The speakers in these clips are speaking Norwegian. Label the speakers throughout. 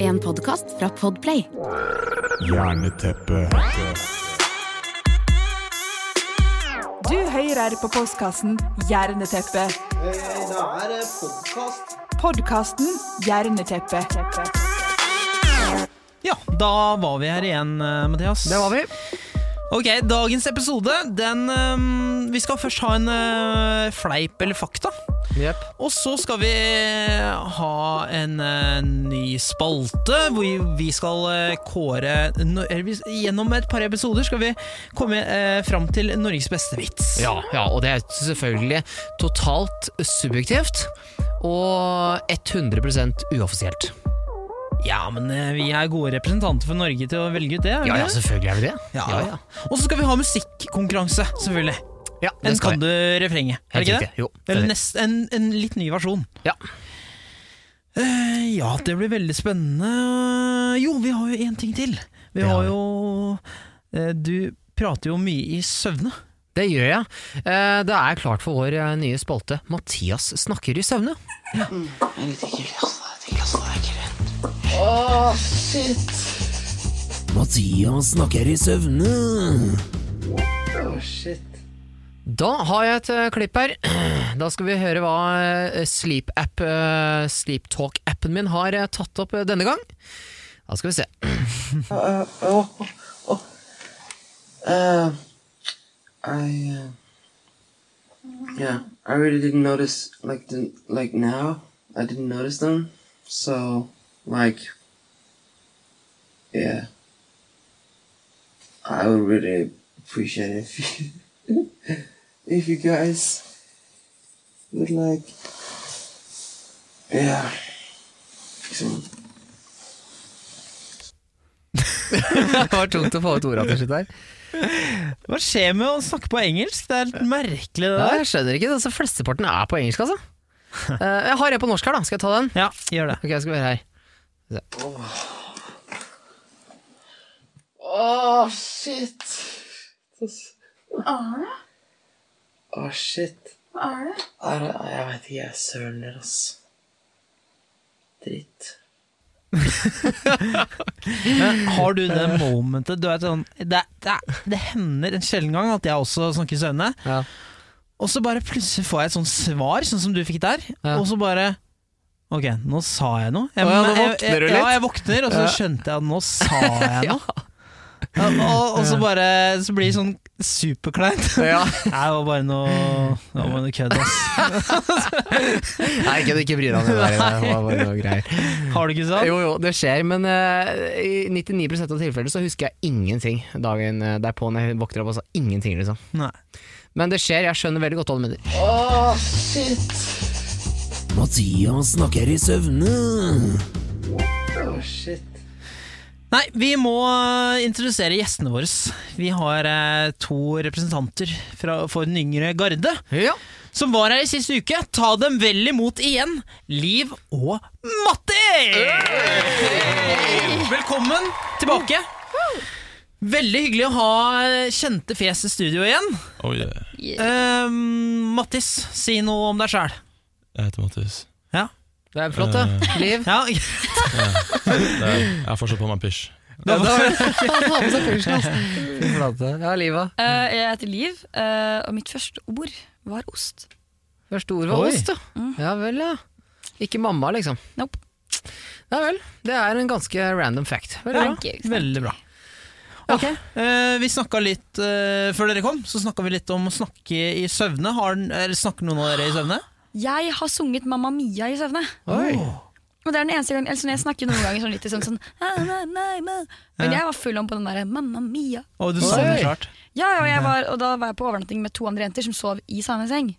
Speaker 1: En podkast fra Podplay.
Speaker 2: Jerneteppe.
Speaker 3: Du hører på postkassen Hjerneteppet.
Speaker 4: Det Eh, er podkast.
Speaker 3: Podkasten Hjerneteppet.
Speaker 5: Ja, da var vi her igjen, eh, Mathias.
Speaker 6: Det var vi.
Speaker 5: Ok, Dagens episode den eh, Vi skal først ha en eh, fleip eller fakta. Og så skal vi ha en eh, ny spalte hvor vi skal eh, kåre no- eller vi- Gjennom et par episoder skal vi komme eh, fram til Norges beste vits.
Speaker 6: Ja, ja, og det er selvfølgelig totalt subjektivt og 100 uoffisielt.
Speaker 5: Ja, men eh, vi er gode representanter for Norge til å velge ut det. er vi
Speaker 6: Ja, ja,
Speaker 5: det?
Speaker 6: selvfølgelig er vi det.
Speaker 5: Ja,
Speaker 6: ja.
Speaker 5: ja. Og så skal vi ha musikkonkurranse, selvfølgelig.
Speaker 6: ja det
Speaker 5: En
Speaker 6: skal
Speaker 5: kan
Speaker 6: vi.
Speaker 5: du refrenget, er det
Speaker 6: Helt
Speaker 5: ikke det?
Speaker 6: riktig. Jo, det er
Speaker 5: Eller
Speaker 6: det.
Speaker 5: nest, en, en litt ny versjon.
Speaker 6: Ja.
Speaker 5: Eh, ja, det blir veldig spennende. Jo, vi har jo én ting til. Vi
Speaker 6: Det har
Speaker 5: har
Speaker 6: vi.
Speaker 5: jo eh, Du prater jo mye i søvne.
Speaker 6: Det gjør jeg. Eh, Det er klart for vår eh, nye spalte Mathias snakker i søvne. Mathias snakker i søvne.
Speaker 4: Oh,
Speaker 6: Da har jeg et eh, klipp her. Da skal vi høre hva eh, Sleep App, eh, Sleep Talk-appen min har eh, tatt opp eh, denne gang. Da skal vi se.
Speaker 4: Oh, Uh, I, uh, yeah, I really didn't notice, like, the, like now, I didn't notice them. So, like, yeah. I would really appreciate it if you, if you guys would, like, yeah. So,
Speaker 6: Det var tungt å få ut ordene sitt der.
Speaker 5: Hva skjer med å snakke på engelsk? Det er helt merkelig, det
Speaker 6: Ja,
Speaker 5: der.
Speaker 6: jeg skjønner ikke. Altså, flesteparten er på engelsk, altså. Eh, Jeg har en på norsk her, da. Skal jeg ta den?
Speaker 5: Ja, gjør det.
Speaker 6: Ok, jeg skal være her.
Speaker 4: Oh shit. Hva er det? Å, shit. Hva er det? Jeg vet ikke, jeg er søler, ass. Dritt.
Speaker 5: Men har du det momentet du vet, sånn, det, det, det hender en sjelden gang at jeg også snakker i søvne.
Speaker 6: Ja.
Speaker 5: Og så bare plutselig får jeg et sånt svar, sånn som du fikk der.
Speaker 6: Ja.
Speaker 5: Og så bare Ok, nå sa jeg noe. Jeg,
Speaker 6: Å ja, nå
Speaker 5: jeg-
Speaker 6: våkner du
Speaker 5: jeg-
Speaker 6: litt.
Speaker 5: Ja, jeg våkner, og så
Speaker 6: Ja.
Speaker 5: skjønte jeg at nå sa jeg noe. ja. og, og så bare Så blir det sånn superkleint.
Speaker 6: Ja.
Speaker 5: Nei, det var bare noe Det var bare noe kødd, ass.
Speaker 6: Nei, ikke, ikke bry deg om det der. Det var bare noe greier.
Speaker 5: Har du ikke sånn?
Speaker 6: Jo, jo, det skjer, men eh, i 99 av tilfellene så husker jeg ingenting dagen eh, derpå når jeg våkner opp og sa ingenting, liksom.
Speaker 5: Nei.
Speaker 6: Men det skjer, jeg skjønner veldig godt hva du mener.
Speaker 4: Å, shit.
Speaker 5: Nei, vi må eh, introdusere gjestene våre. Vi har eh, to representanter fra, for den yngre garde
Speaker 6: Ja.
Speaker 5: som var her i siste uke. Ta dem vel imot igjen, Liv og Matti! Velkommen tilbake. Veldig hyggelig å ha eh, kjente fjes i studio igjen.
Speaker 7: Oh yeah.
Speaker 5: Eh, Mattis, si noe om deg sjæl.
Speaker 7: Jeg heter Mattis.
Speaker 5: Ja.
Speaker 6: Det er flott, det. Liv.
Speaker 5: Ja.
Speaker 7: Det er, jeg har fortsatt på meg pysj.
Speaker 6: Ja, da var det Ta på seg pulsen, altså. Fy flate. Ja, Liva.
Speaker 8: Eh, jeg heter Liv, eh, og mitt første ord var ost.
Speaker 6: Første ord var
Speaker 5: Oi.
Speaker 6: ost, ja. Ja vel, ja. Ikke mamma, liksom.
Speaker 8: Nope.
Speaker 6: Ja vel. Det er en ganske random fact. Veldig bra.
Speaker 8: Thank you.
Speaker 5: Veldig bra. Ok, eh, Vi snakka litt eh, Før dere kom, så snakka vi litt om å snakke i søvne. Har, den- eller snakker noen av dere i søvne?
Speaker 8: Jeg har sunget Mamma Mia i søvne.
Speaker 6: Oi.
Speaker 8: Og det er den eneste gangen, altså Jeg snakker noen ganger sånn litt i sånn, sånn «Ah, nei, nei, nei». Men jeg var full om på den der Mamma Mia.
Speaker 5: Og du sa det
Speaker 6: Oi.
Speaker 5: klart.
Speaker 8: Ja, ja, og, jeg var, og da var jeg på overnatting med to andre jenter som sov i samme seng.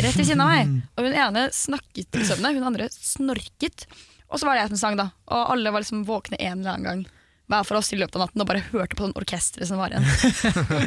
Speaker 8: Rett ved siden av meg. Og hun ene snakket i søvne, hun andre snorket. Og så var det jeg som sang, da. Og alle var liksom våkne en eller annen gang. Hver for oss i løpet av natten og bare hørte på sånn orkesteret som var igjen.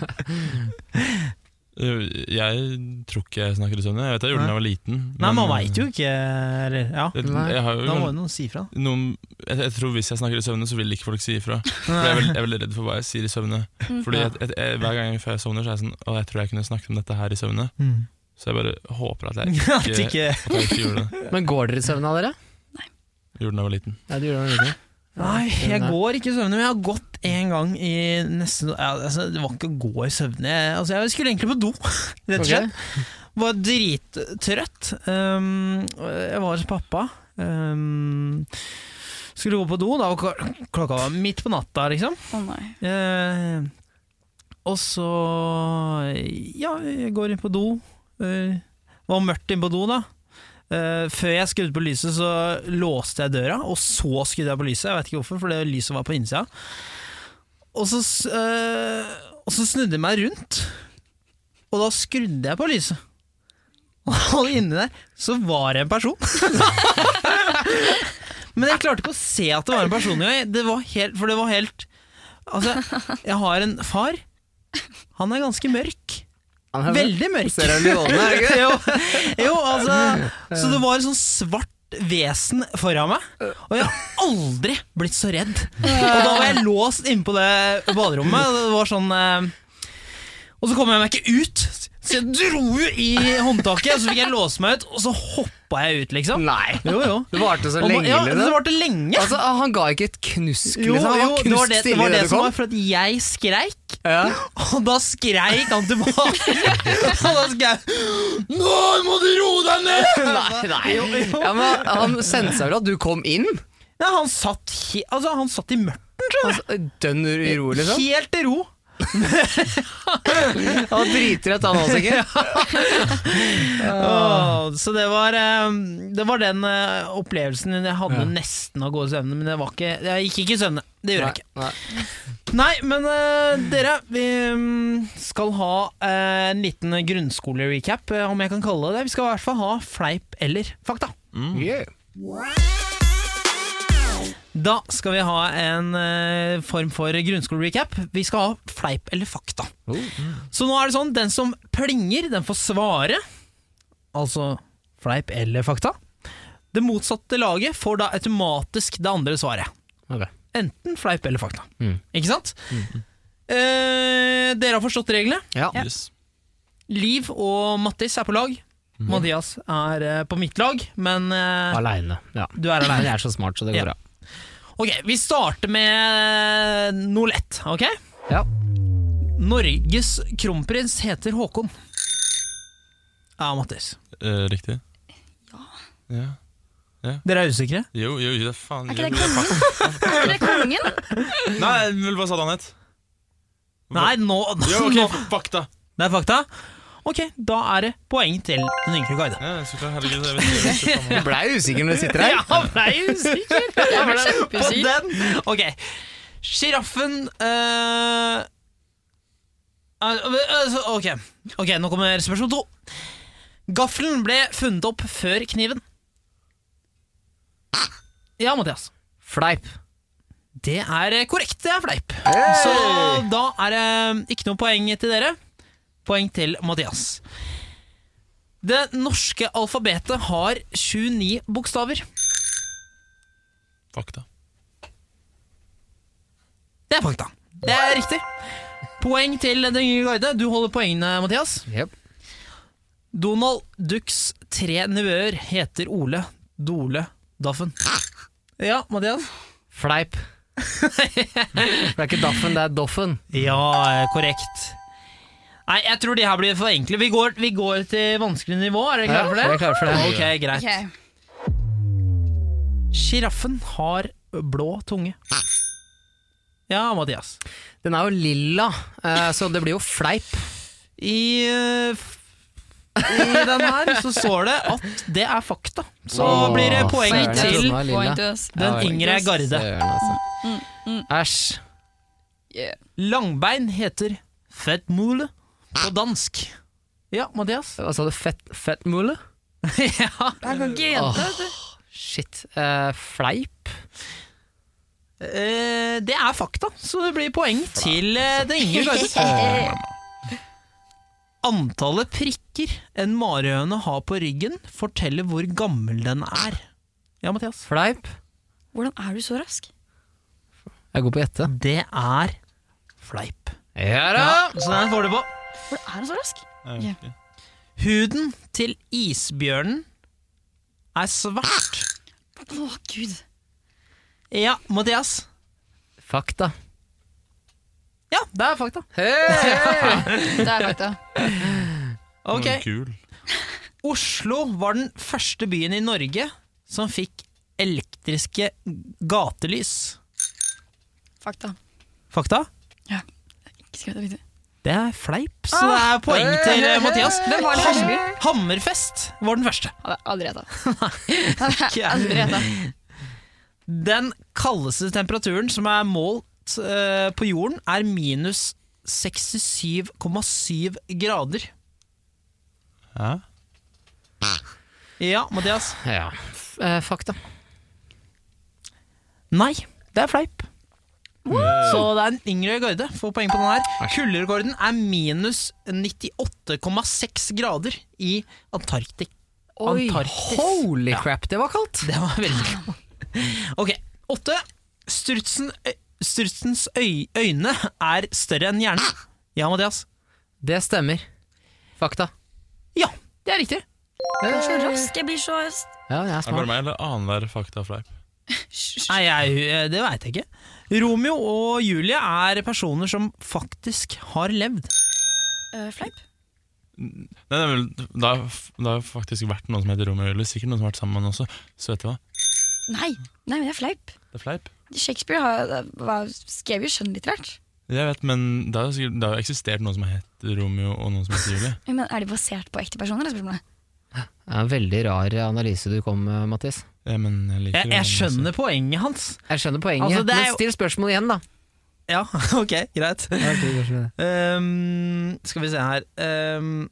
Speaker 7: Uh, Jeg tror ikke jeg snakker i søvne. Jeg vet jeg gjorde det da jeg var liten.
Speaker 5: Nei,
Speaker 7: men-
Speaker 5: man veit jo ikke. Eller, ja.
Speaker 7: Jeg,
Speaker 6: Nei.
Speaker 7: jeg har jo
Speaker 5: Da må jo
Speaker 7: noen,
Speaker 5: noen si ifra.
Speaker 7: noen, jeg, jeg tror Hvis jeg snakker i søvne, så vil ikke folk si ifra. For jeg er, veld, jeg er veldig redd for hva jeg sier i søvne. Fordi jeg, jeg, jeg, Hver gang før jeg sovner, så er jeg sånn Å, jeg tror jeg kunne snakket om dette her i søvne.
Speaker 5: Mm.
Speaker 7: Så jeg bare håper at jeg
Speaker 5: At
Speaker 7: ikke,
Speaker 5: ikke
Speaker 7: at jeg ikke gjorde det.
Speaker 6: Men går dere i søvn av dere?
Speaker 7: Gjorde den da jeg var liten.
Speaker 6: Ja, du gjør det veldig.
Speaker 5: Nei, jeg
Speaker 6: Nei.
Speaker 5: går ikke i søvne, men jeg har gått en gang i nesten ja, altså, Det var ikke å gå i søvne. Jeg, altså, jeg skulle egentlig på do, rett og
Speaker 6: Ok.
Speaker 5: slett. Var drittrøtt. Um, jeg var hos pappa. Um, skulle gå på do, da var kl- klokka var midt på natta, liksom.
Speaker 8: Å nei.
Speaker 5: Eh, og så Ja, jeg går inn på do. Eh, var mørkt inn på do, da. Eh, før jeg skrudde på lyset, så låste jeg døra, og så skrudde jeg på lyset. Jeg vet ikke hvorfor, for det lyset var på innsida. Og så, s- eh, og så snudde jeg meg rundt, og da skrudde jeg på lyset. Og inni der så var det en person. Men jeg klarte ikke å se at det var en person engang. Det var helt- For det var helt Altså, jeg har en far. Han er ganske mørk.
Speaker 6: Han er
Speaker 5: Veldig mørk.
Speaker 6: Ser han Livåne, er det ikke det?
Speaker 5: jo, jo, altså Så det var et sånn svart vesen foran meg, og jeg har aldri blitt så redd. Og da var jeg låst inne på det baderommet, og det var sånn eh, Og så kom jeg meg ikke ut, så jeg dro jo i håndtaket, og så fikk jeg låse meg ut, og så hoppa jeg ut, liksom.
Speaker 6: Nei.
Speaker 5: Jo, jo.
Speaker 6: Det varte så
Speaker 5: Og-
Speaker 6: lenge,
Speaker 5: ja,
Speaker 6: liksom.
Speaker 5: det varte lenge.
Speaker 6: Altså, han ga ikke et knusk,
Speaker 5: Jo,
Speaker 6: liksom. Han
Speaker 5: jo, det
Speaker 6: var
Speaker 5: var
Speaker 6: knust
Speaker 5: det, det,
Speaker 6: stille
Speaker 5: var det
Speaker 6: idet du
Speaker 5: som
Speaker 6: kom.
Speaker 5: var for at jeg skreik.
Speaker 6: Ja.
Speaker 5: Og da skreik han tilbake. Og da skreik Nå må du roe deg ned!
Speaker 6: Nei, nei. Ja, men han sendte seg vel at du kom inn?
Speaker 5: Nei, han satt, he altså, han satt i mørten, tror jeg.
Speaker 6: Altså, Dønn uro, liksom?
Speaker 5: Helt i ro.
Speaker 6: Han var dritrett, han også, sikkert.
Speaker 5: Åh, så det var, eh, det var den eh, opplevelsen jeg hadde nesten av å gå i søvne, men det var ikke, jeg gikk ikke i søvne. Det gjorde jeg ikke.
Speaker 6: Nei,
Speaker 5: Nei, men eh, dere, vi mm, skal ha eh, en liten grunnskole-recap, eh, om jeg kan kalle det det. Vi skal i hvert fall ha fleip eller fakta.
Speaker 6: nei. Yeah.
Speaker 5: Da skal vi ha en eh, form for grunnskole-recap. Vi skal ha fleip eller fakta. Så nå er det sånn, den som plinger, den får svare. Altså fleip eller fakta. Det motsatte laget får da automatisk det andre svaret.
Speaker 6: Ok.
Speaker 5: Enten fleip eller fakta.
Speaker 6: Mm.
Speaker 5: Ikke sant? Eh, dere har forstått reglene.
Speaker 6: Ja.
Speaker 7: Yes.
Speaker 5: Liv og Mattis er på lag.
Speaker 6: Mm.
Speaker 5: Mathias er eh, på mitt lag, men eh,
Speaker 6: Aleine. Ja.
Speaker 5: du er
Speaker 6: Men
Speaker 5: aleine.
Speaker 6: jeg er så smart, så det
Speaker 5: Ja.
Speaker 6: går bra.
Speaker 5: Ok, vi starter med noe lett, ok?
Speaker 6: Ja.
Speaker 5: Norges kronprins heter Håkon. Ja, Mattis.
Speaker 7: Eh, riktig?
Speaker 8: Ja.
Speaker 7: Ja.
Speaker 5: Dere er usikre?
Speaker 7: Jo, jo, jo, det er faen
Speaker 8: Er ikke
Speaker 7: jo,
Speaker 8: det
Speaker 7: det er
Speaker 8: kongen? Er ikke det kongen?
Speaker 7: fak- Nei, vel, hva sa han het?
Speaker 5: Nei, nå,
Speaker 7: Jo,
Speaker 5: nå
Speaker 7: ok, fakta!
Speaker 5: Det er fakta. Ok, da er det poeng til den yngre guiden.
Speaker 7: Ja, så klart, herregud, jeg vet ikke. jeg vet ikke
Speaker 6: Du blei usikker når du sitter her.
Speaker 5: Ja, blei usikker! Jeg ble På
Speaker 8: kjempeusikker.
Speaker 5: den! Ok. Sjiraffen eh, eh, altså, Ok, Ok, nå kommer spørsmål to. Gaffelen ble funnet opp før kniven. Ja, Mathias.
Speaker 6: Fleip.
Speaker 5: Det er korrekt, det er fleip. Så da er det ikke noe poeng til dere. Poeng til Mathias. Det norske alfabetet har 29 bokstaver.
Speaker 7: Fakta.
Speaker 5: Det er fakta. Det er riktig. Poeng til den yngre guide. Du holder poengene, Mathias.
Speaker 6: Yep.
Speaker 5: Donald Ducks tre nevøer heter Ole, Dole, Daffen. Ja, Mathias?
Speaker 6: Fleip. Det er ikke Daffen, det er Doffen.
Speaker 5: Ja, korrekt. Nei, jeg tror de her blir for enkle. Vi går, vi går til vanskelig nivå. Er dere klare for det?
Speaker 6: Ja, jeg er klar for det.
Speaker 5: Ok, greit.
Speaker 8: Ok.
Speaker 5: Sjiraffen har blå tunge. Ja, Mathias.
Speaker 6: Den er jo lilla, eh, så det blir jo fleip.
Speaker 5: I, eh, f- I den her så står det at det er fakta. Så
Speaker 6: Åh,
Speaker 5: blir det sånn poeng
Speaker 6: søren, jeg trodde
Speaker 5: til
Speaker 6: den var lilla.
Speaker 8: Poeng til oss.
Speaker 5: den yngre garde.
Speaker 6: Søren, altså.
Speaker 8: Mm,
Speaker 6: Æsj.
Speaker 8: Yeah.
Speaker 5: Langbein heter fettmule på dansk. Ja, Mathias?
Speaker 6: Hva sa du? Fett, fettmule?
Speaker 5: ja.
Speaker 8: Jeg kan ikke gjenta, sånn vet du.
Speaker 6: Shit. Eh, fleip?
Speaker 5: Eh, det er fakta, så det blir poeng til eh, den yngre garde. Antallet prikker en marihøne har på ryggen, forteller hvor gammel den er. Ja, Mathias?
Speaker 6: Fleip?
Speaker 8: Hvordan er du så rask?
Speaker 6: Jeg går på å gjette.
Speaker 5: Det er fleip.
Speaker 6: Ja da!
Speaker 5: Ja, så den får du på.
Speaker 8: Hvordan er han så rask?
Speaker 7: Jeg vet ikke.
Speaker 5: Huden til isbjørnen er svart.
Speaker 8: Å, gud.
Speaker 5: Ja, Mathias.
Speaker 6: Fakta.
Speaker 5: Ja, det er fakta.
Speaker 8: Det er fakta.
Speaker 5: Ok.
Speaker 7: Mm, Kul.
Speaker 5: Oslo var den første byen i Norge som fikk elektriske gatelys.
Speaker 8: Fakta.
Speaker 5: Fakta?
Speaker 8: Ikke skrevet det riktig.
Speaker 5: Det er fleip, så
Speaker 6: Ah.
Speaker 5: det er poeng til eh, Mathias.
Speaker 8: Hvem var den første byen?
Speaker 5: Hammerfest var den første.
Speaker 8: Hadde jeg aldri gjetta. Hadde jeg aldri gjetta.
Speaker 5: Den kaldeste temperaturen som er målt eh, på jorden, er minus 67,7 grader.
Speaker 7: Hæ?
Speaker 5: Ja, Mathias?
Speaker 6: Ja. F- eh, Fakta.
Speaker 5: Nei, det er fleip. Så det er en yngre garde. Får poeng på den her. Kulderekorden er minus 98,6 grader i Antarktik. Antarktis.
Speaker 6: Holy crap, det var kaldt!
Speaker 5: Det var veldig bra. Ok, åtte. Strutsen, ø- strutsens øy, øyne er større enn hjernen. Ja, Mathias.
Speaker 6: Det stemmer. Fakta.
Speaker 5: Ja, det er riktig.
Speaker 8: Jeg blir så rask, jeg blir så st-
Speaker 6: Ja, jeg er
Speaker 7: Er det bare
Speaker 6: smart.
Speaker 7: meg, eller aner dere faktafleip?
Speaker 5: Nei, jeg, det veit jeg ikke. Romeo og Julie er personer som faktisk har levd.
Speaker 8: Eh, Fleip.
Speaker 7: Nei, det er vel- det har f- det har faktisk vært noen som heter Romeo og Julie. Sikkert noen som har vært sammen med han også. Så vet du hva?
Speaker 8: Nei, nei, men det er fleip.
Speaker 7: Det er fleip.
Speaker 8: Shakespeare har, eh, var, skrev jo skjønnlitterært.
Speaker 7: Jeg vet, men det har jo sikkert- det har jo eksistert noen som har hett Romeo og noen som heter Julie.
Speaker 8: Men er de basert på ekte personer? er spørsmålet?
Speaker 6: Det er en veldig rar analyse du kom med, Mattis.
Speaker 7: Ja, men jeg liker
Speaker 5: Jeg,
Speaker 7: Romeo
Speaker 5: jeg
Speaker 7: altså. også.
Speaker 5: skjønner poenget hans.
Speaker 6: Jeg skjønner poenget,
Speaker 5: Altså, det er
Speaker 6: men
Speaker 5: jo-
Speaker 6: still spørsmål igjen, da.
Speaker 5: Ja, ok, greit. Ehm, skal vi se her Ehm,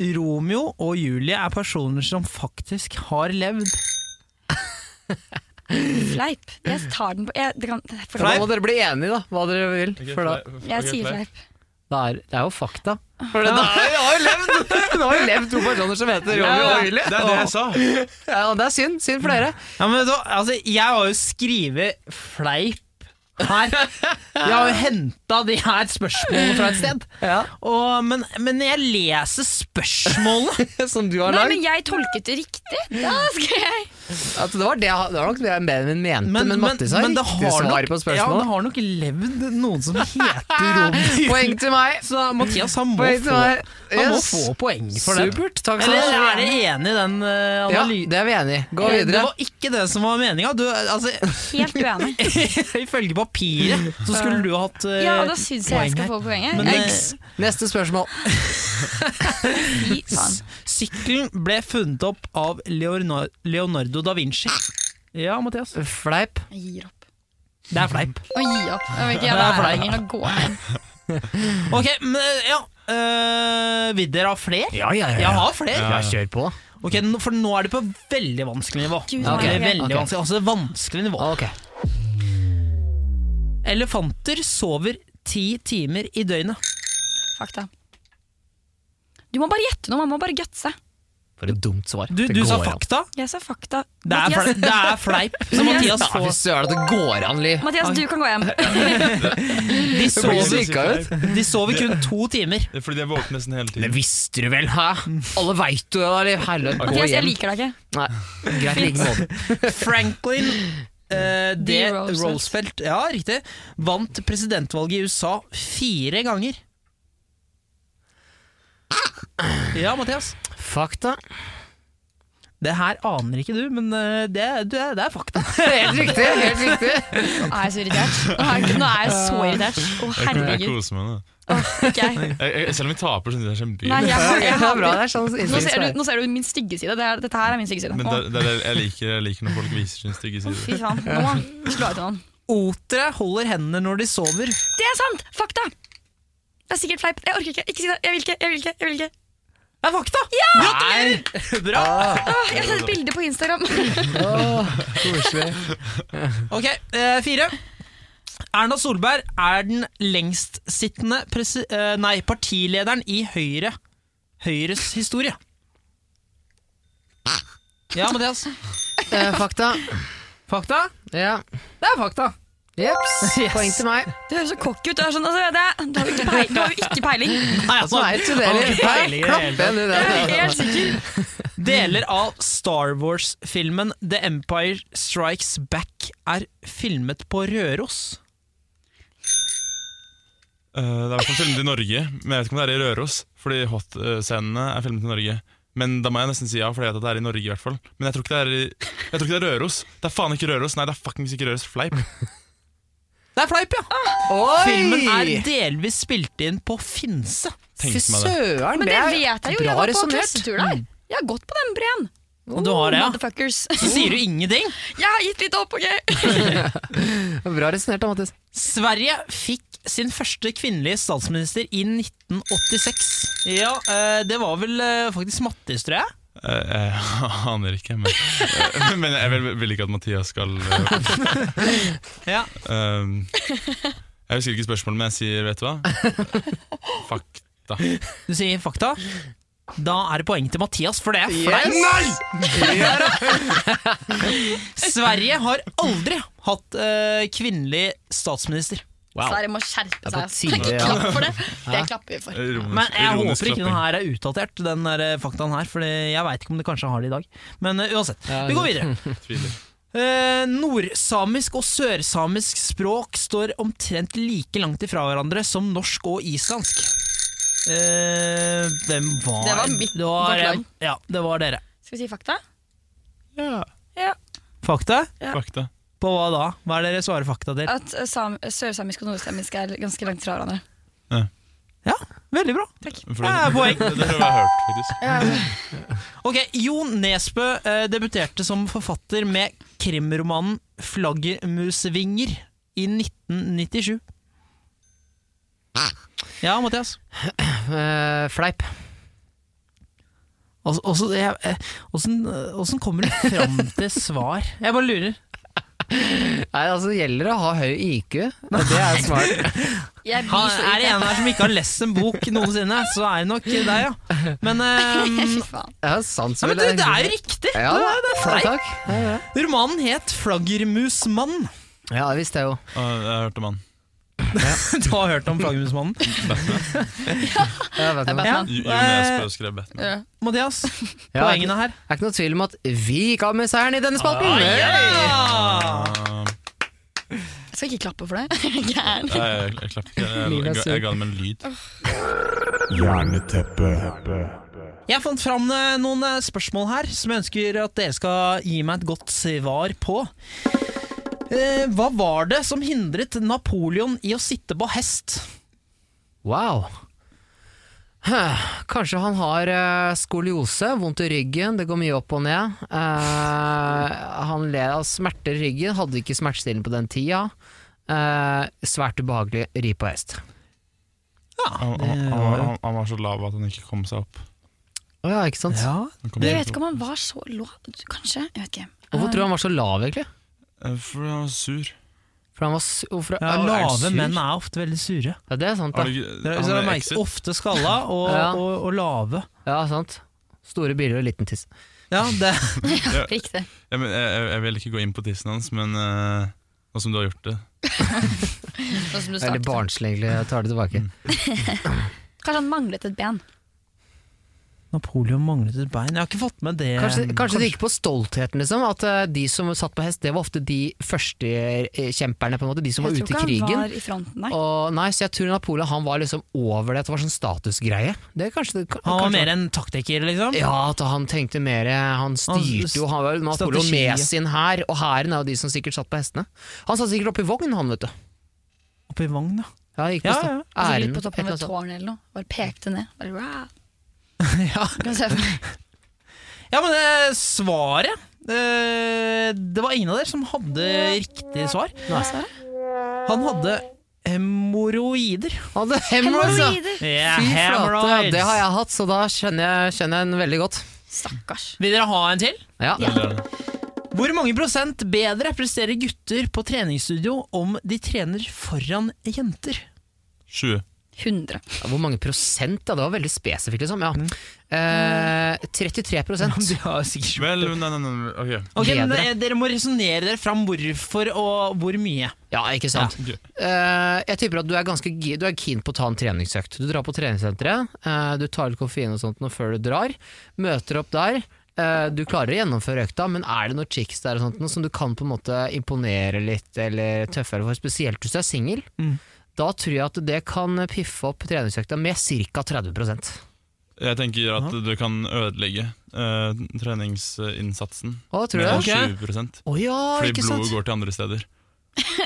Speaker 5: Romeo og Julie er personer som faktisk har levd.
Speaker 8: Fleip. Jeg tar den på jeg, det kan, for-
Speaker 6: Da må dere bli enige, da, hva dere vil.
Speaker 7: Ok,
Speaker 6: For da,
Speaker 7: fleip.
Speaker 8: jeg
Speaker 7: Ok,
Speaker 8: sier
Speaker 7: fleip.
Speaker 8: fleip.
Speaker 6: det, er, det er jo fakta. For det, det er, jeg har jo levd! Hun har jo levd to personer som heter Romeo og Julie.
Speaker 7: Det er det jeg sa!
Speaker 6: Ja, og det er synd. Synd for dere.
Speaker 5: Ja, men vet du, hva? altså, Jeg har jo skrevet fleip her. Jeg har jo henta de her spørsmålene fra et sted. Og, men, men jeg leser spørsmålene.
Speaker 6: Som du har
Speaker 8: Nei,
Speaker 6: lagd.
Speaker 8: men jeg tolket det riktig! Da skal jeg
Speaker 6: At det, var det, det var nok det Benjamin mente, men,
Speaker 5: Men,
Speaker 6: Mattis har
Speaker 5: men det
Speaker 6: riktig
Speaker 5: har
Speaker 6: svar
Speaker 5: nok-
Speaker 6: på
Speaker 5: Ja, det
Speaker 6: spørsmålet.
Speaker 5: har nok levd noen som heter Romeo.
Speaker 6: Poeng til meg.
Speaker 5: Så Mathias han må,
Speaker 6: Poeng til
Speaker 5: få,
Speaker 6: meg.
Speaker 5: han må
Speaker 6: Yes.
Speaker 5: få poeng for det.
Speaker 6: Supert. Takk skal
Speaker 5: Eller
Speaker 6: du ha.
Speaker 5: er dere enig i den uh,
Speaker 6: Ja,
Speaker 5: analysen?
Speaker 6: det er vi enig i. Gå
Speaker 5: Det
Speaker 6: videre.
Speaker 5: var ikke det som var meninga. Du, altså,
Speaker 8: Helt uenig.
Speaker 5: ifølge papiret så skulle du hatt eh,
Speaker 8: Ja, da syns jeg jeg skal få poenget.
Speaker 5: Men,
Speaker 8: Jeg-
Speaker 5: eh,
Speaker 6: Neste spørsmål.
Speaker 8: Fy faen.
Speaker 5: Sykkelen ble funnet opp av Leonardo, Leonardo da Vinci. Ja, Mathias.
Speaker 6: Fleip.
Speaker 8: Jeg gir opp.
Speaker 5: Det er fleip.
Speaker 8: Å, gi opp. Jeg vil ikke
Speaker 5: Det er
Speaker 8: være her
Speaker 5: fleip.
Speaker 8: lenger. Nå går jeg hjem.
Speaker 5: Ok, men eh, ja eh, Vil dere ha flere?
Speaker 6: Ja, ja, ja.
Speaker 5: Jeg har flere.
Speaker 6: Ja, kjør på.
Speaker 5: Ok, nå- For nå er det på veldig vanskelig nivå.
Speaker 8: Gud,
Speaker 5: Ok,
Speaker 8: ok.
Speaker 5: veldig
Speaker 6: Ok.
Speaker 5: vanskelig, altså vanskelig nivå.
Speaker 6: Ah, Ok.
Speaker 5: Elefanter sover ti timer i døgnet.
Speaker 8: Fakta. Du må bare gjette noe, man må bare gutse.
Speaker 6: For et dumt svar.
Speaker 5: Du,
Speaker 6: Det
Speaker 5: du sa
Speaker 6: går an.
Speaker 5: fakta.
Speaker 8: Jeg sa fakta.
Speaker 5: Det er, fle
Speaker 8: Mathias,
Speaker 5: det er fleip. Så Mathias
Speaker 6: Nei, Fy
Speaker 5: får
Speaker 6: søren, det går an, Liv.
Speaker 8: Mathias, du kan gå hjem.
Speaker 5: De
Speaker 6: Du blir
Speaker 5: sover,
Speaker 6: drikka ut.
Speaker 5: de sover kun to timer.
Speaker 7: Det er fordi de er våkne nesten hele
Speaker 6: Det
Speaker 7: tiden.
Speaker 6: visste du vel, hæ? Alle veit jo det, da, Liv. Helvete, gå
Speaker 8: Mathias, jeg
Speaker 6: hjem.
Speaker 8: liker deg ikke.
Speaker 6: Nei, greit i like måte.
Speaker 5: Franklin eh, D.
Speaker 8: D. Roosevelt.
Speaker 5: Roosevelt ja, riktig, vant presidentvalget i USA fire ganger. Ja, Mathias.
Speaker 6: Fakta.
Speaker 5: Det her aner ikke du, men eh, det, det, er- det er fakta.
Speaker 6: Helt riktig. helt riktig
Speaker 8: Nå er jeg så irritert. Nå er jeg, nå er jeg så irritert. Å,
Speaker 7: Jeg, kan- jeg
Speaker 8: herregud.
Speaker 7: koser meg nå.
Speaker 8: Ikke jeg.
Speaker 7: Jeg, jeg, selv om vi taper, syns jeg det er kjempegøy.
Speaker 8: Nei, jeg,
Speaker 6: Ok,
Speaker 8: jeg,
Speaker 6: Det er bra, det er sånn
Speaker 8: nå, ser du,
Speaker 6: innstillingssvar.
Speaker 8: nå ser du min stygge side. Det er, dette her er min stygge side.
Speaker 7: Men
Speaker 8: Å,
Speaker 7: det, det, er det jeg, liker, jeg liker når folk viser sin stygge side.
Speaker 8: fy faen. Nå slår jeg til noen.
Speaker 5: Otere holder hendene når de sover.
Speaker 8: Det er sant! Fakta! Det er sikkert fleip. Jeg orker ikke. Ikke si det. Jeg vil ikke. Jeg vil ikke. Jeg vil ikke.
Speaker 5: Det er fakta! Gratulerer! Bra!
Speaker 6: Ah.
Speaker 8: Åh, jeg har sett bilde på Instagram.
Speaker 5: Ok, eh, fire. Erna Solberg er den lengstsittende presi eh, nei, partilederen i Høyre. Høyres historie. Ja, Mathias.
Speaker 6: Eh, Fakta.
Speaker 5: Fakta?
Speaker 6: Ja.
Speaker 5: Det er fakta.
Speaker 6: Jeps.
Speaker 5: Yes.
Speaker 6: Poeng til meg.
Speaker 8: Du høres så cocky ut. Du, er sånn, altså, det, du har jo ikke peil- du har jo ikke peiling.
Speaker 5: Nei, altså,
Speaker 6: Altså, veit du det, Liv? Her, Klapp igjen i
Speaker 8: Jeg
Speaker 6: den.
Speaker 8: er helt sikker.
Speaker 5: Deler av Star Wars-filmen The Empire Strikes Back er filmet på Røros.
Speaker 7: Eh, det er i hvert fall filmet i Norge, men jeg vet ikke om det er i Røros. Fordi hot-scenene er filmet i Norge. Men da må jeg nesten si ja, for jeg vet at det er i Norge i hvert fall. Men jeg tror ikke det er, i, jeg tror ikke det er Røros. Det er faen ikke Røros. Nei, det er fuckings ikke Røros. Fleip.
Speaker 5: Det er fleip, ja!
Speaker 6: Oi!
Speaker 5: Filmen er delvis spilt inn på Finse.
Speaker 7: Tenk
Speaker 6: Fy
Speaker 7: meg det.
Speaker 6: søren,
Speaker 8: Men det
Speaker 6: er
Speaker 8: vet jeg jo,
Speaker 6: bra
Speaker 8: jeg var på
Speaker 6: resonert.
Speaker 8: klassetur der. Jeg har gått på den breen.
Speaker 5: Og du har det, ja.
Speaker 8: Motherfuckers.
Speaker 5: Så sier du ingenting.
Speaker 8: Jeg har gitt litt opp, OK?
Speaker 6: Bra resonert da, Mattis.
Speaker 5: Sverige fikk sin første kvinnelige statsminister i 1986. Ja, eh, det var vel eh, faktisk Mattis, tror jeg.
Speaker 7: Eh, jeg aner ikke, men, eh, men jeg vil, vil ikke at Mathias skal eh,
Speaker 5: Ja.
Speaker 7: ehm, Jeg husker ikke spørsmålet, men jeg sier, vet du hva? Fakta.
Speaker 5: Du sier fakta. Da er det poeng til Mathias, for det er flaut.
Speaker 6: Yes.
Speaker 5: Sverige har aldri hatt eh, kvinnelig statsminister.
Speaker 8: Sverre må skjerpe
Speaker 6: Det er på
Speaker 8: seg.
Speaker 6: tide, ja.
Speaker 8: Klapp for det. Det klapper vi for.
Speaker 7: Ironisk-
Speaker 5: Men jeg
Speaker 7: ironisk
Speaker 5: håper ikke den
Speaker 7: klapping.
Speaker 5: her er utdatert, den der eh, faktaen her. For jeg veit ikke om de kanskje har det i dag. Men eh, uansett,
Speaker 6: Ja,
Speaker 5: vi går videre.
Speaker 7: Tviler.
Speaker 5: Eh, nordsamisk og sørsamisk språk står omtrent like langt ifra hverandre som norsk og islandsk. Eh, hvem var
Speaker 8: Det var mitt-
Speaker 5: det var,
Speaker 8: vårt land.
Speaker 5: Ja, det var dere.
Speaker 8: Skal vi si fakta?
Speaker 7: Ja,
Speaker 5: Fakta?
Speaker 7: fakta.
Speaker 5: På hva da? Hva er det dere svarer fakta til?
Speaker 8: At eh, sam sørsamisk og nordsamisk er ganske langt fra hverandre.
Speaker 5: Ja, veldig bra.
Speaker 7: For
Speaker 5: Det er poeng.
Speaker 7: Det, det har jeg hørt, faktisk.
Speaker 5: Ok, Jon Nesbø eh, debuterte som forfatter med krimromanen 'Flaggermusvinger' i 1997. Ja, Mathias?
Speaker 6: Eh, fleip.
Speaker 5: Altså, altså, jeg- eh, Åssen åssen kommer du fram til svar? Jeg bare lurer.
Speaker 6: Nei, altså det gjelder å ha høy IQ. Det er smart.
Speaker 8: Jeg
Speaker 5: Ha,
Speaker 8: blir så
Speaker 5: er det en her som ikke har lest en bok noensinne, så er det nok deg, ja. Men, eh,
Speaker 8: Fy faen.
Speaker 6: Jeg har sans
Speaker 5: nei, men
Speaker 6: for
Speaker 5: du, det er jo riktig!
Speaker 6: Ja,
Speaker 5: det er, det er
Speaker 6: ja,
Speaker 5: fleip.
Speaker 6: takk. Ja, ja.
Speaker 5: Romanen het 'Flaggermusmann'.
Speaker 6: ja, det visste jeg jo.
Speaker 7: Å, jeg hørte mann.
Speaker 5: Du har hørt om Flaggermusmannen?
Speaker 6: Jeg vet
Speaker 8: Det er
Speaker 6: om det.
Speaker 8: Batman.
Speaker 7: Jo- Jo Nesbø skrev Batman.
Speaker 8: Ja.
Speaker 5: Mathias,
Speaker 6: Ja, jeg-
Speaker 5: poengene her.
Speaker 6: Det er ikke noe tvil om at vi ikke har med seieren i denne spalten.
Speaker 5: Ja!
Speaker 7: Ah,
Speaker 8: Jeg skal ikke klappe for det. Gæren.
Speaker 7: nei, jeg, jeg klappet ikke. Jeg,
Speaker 6: Lina
Speaker 7: jeg,
Speaker 6: sur.
Speaker 7: jeg ga dem en lyd.
Speaker 2: Jerneteppe.
Speaker 5: Jeg fant fram eh, noen eh, spørsmål her som jeg ønsker at dere skal gi meg et godt svar på. Eh, hva var det som hindret Napoleon i å sitte på hest?
Speaker 6: Wow. Huh, Kanskje han har eh, skoliose, vondt i ryggen, det går mye opp og ned. Eh, han ler av smerter i ryggen, hadde ikke smertestillende på den tida. Eh, svært ubehagelig, ri på hest.
Speaker 7: Han, han, han, var- han, han var så lav at han ikke kom seg opp.
Speaker 6: Å ja, ikke sant?
Speaker 7: Han kom ikke
Speaker 8: Jeg vet
Speaker 7: opp.
Speaker 8: ikke om han var så lav, kanskje. Jeg vet ikke.
Speaker 5: Ah.
Speaker 6: Hvorfor tror du han var så lav, egentlig?
Speaker 7: Eh, For han var sur.
Speaker 6: For han var s- hvorfor,
Speaker 5: Ja,
Speaker 6: er han
Speaker 5: lave
Speaker 6: sur?
Speaker 5: menn er ofte veldig sure.
Speaker 6: Ja, det er sant,
Speaker 7: Har du
Speaker 6: da.
Speaker 7: ikke-
Speaker 5: Dere,
Speaker 7: han
Speaker 5: dere
Speaker 7: er
Speaker 5: har merket
Speaker 7: exit.
Speaker 5: ofte skalla og,
Speaker 6: Ja.
Speaker 5: og, og lave.
Speaker 6: Ja, sant. Store biler og liten tiss.
Speaker 5: Ja, det,
Speaker 8: Riktig.
Speaker 7: Jeg, men- eh, jeg, jeg- jeg vil ikke gå inn på tissen hans, men eh, nå som du har gjort det
Speaker 8: Sånn som du
Speaker 6: Veldig
Speaker 8: startet.
Speaker 6: barnslig, egentlig. Jeg tar det tilbake.
Speaker 5: Mm.
Speaker 8: Kanskje han manglet et ben.
Speaker 5: Napoleon manglet et bein. Jeg har ikke fått med det.
Speaker 6: Kanskje, kanskje, det gikk på stoltheten, liksom. At eh, de som satt på hest, det var ofte de første eh, kjemperne, på en måte. De som var ute i
Speaker 8: han
Speaker 6: krigen.
Speaker 8: var i fronten, nei.
Speaker 6: Og, nei, så jeg tror Napoleon han var liksom over det, at det var sånn statusgreie. Det er kanskje det,
Speaker 5: Han var
Speaker 6: kanskje-
Speaker 5: mer en taktiker, liksom?
Speaker 6: ja, at han tenkte mer eh, Han styrte jo, han var jo Napoleon
Speaker 5: strategi.
Speaker 6: med sin hær, og hæren er jo de som sikkert satt på hestene. Han satt sikkert oppi vogn, han, vet du.
Speaker 5: Oppi vogn, da.
Speaker 6: Ja, gikk på
Speaker 5: Ja,
Speaker 6: sta-
Speaker 5: ja.
Speaker 8: Han sikkert
Speaker 6: æren,
Speaker 8: Altså, på
Speaker 6: et
Speaker 8: toppen av
Speaker 6: eller
Speaker 8: et
Speaker 6: annet
Speaker 8: tårn eller noe. Bare pekte ned. Bare, wow.
Speaker 5: Ja.
Speaker 8: Kan du se for deg?
Speaker 5: Ja, men eh, svaret eh, Det var ingen av dere som hadde riktig svar. Han hadde hemoroider.
Speaker 6: sånt. Han hadde hemorrhoids, ja.
Speaker 5: Yeah,
Speaker 6: altså. Fy flate, ja, det har jeg hatt, så da skjønner jeg, skjønner jeg den veldig godt.
Speaker 8: Stakkars.
Speaker 5: Vil dere ha en til?
Speaker 6: Ja.
Speaker 7: Eller,
Speaker 5: Hvor mange prosent bedre presterer gutter på treningsstudio om de trener foran jenter?
Speaker 7: 20.
Speaker 8: 100.
Speaker 6: Hvor mange prosent? Ja, det var veldig spesifikt, liksom. Ja.
Speaker 5: Mm.
Speaker 6: Eh, 33 prosent.
Speaker 5: De har sikkert
Speaker 7: Vel, nei, nei, nei, nei. ok.
Speaker 5: Ok, men
Speaker 6: Bedre.
Speaker 5: eh, Dere må resonnere dere fram hvorfor og hvor mye.
Speaker 6: Ja, ikke sant. Eh, jeg tipper at du er ganske gi- du er keen på å ta en treningsøkt. Du drar på treningssenteret, eh, du tar litt koffein og sånt nå før du drar, møter opp der, eh, du klarer å gjennomføre økta, men er det noen chicks der og sånt, noe som du kan på en måte imponere litt, eller tøffere for, spesielt hvis du er singel,
Speaker 5: Mm.
Speaker 6: da tror jeg at det kan piffe opp treningsøkta med ca. 30
Speaker 7: Jeg tenker at du kan ødelegge eh, treningsinnsatsen
Speaker 6: Å, tror du
Speaker 7: med
Speaker 6: det?
Speaker 7: 20
Speaker 6: Å ja,
Speaker 7: Fordi
Speaker 6: ikke
Speaker 7: blodet
Speaker 6: sant?
Speaker 7: går til andre steder.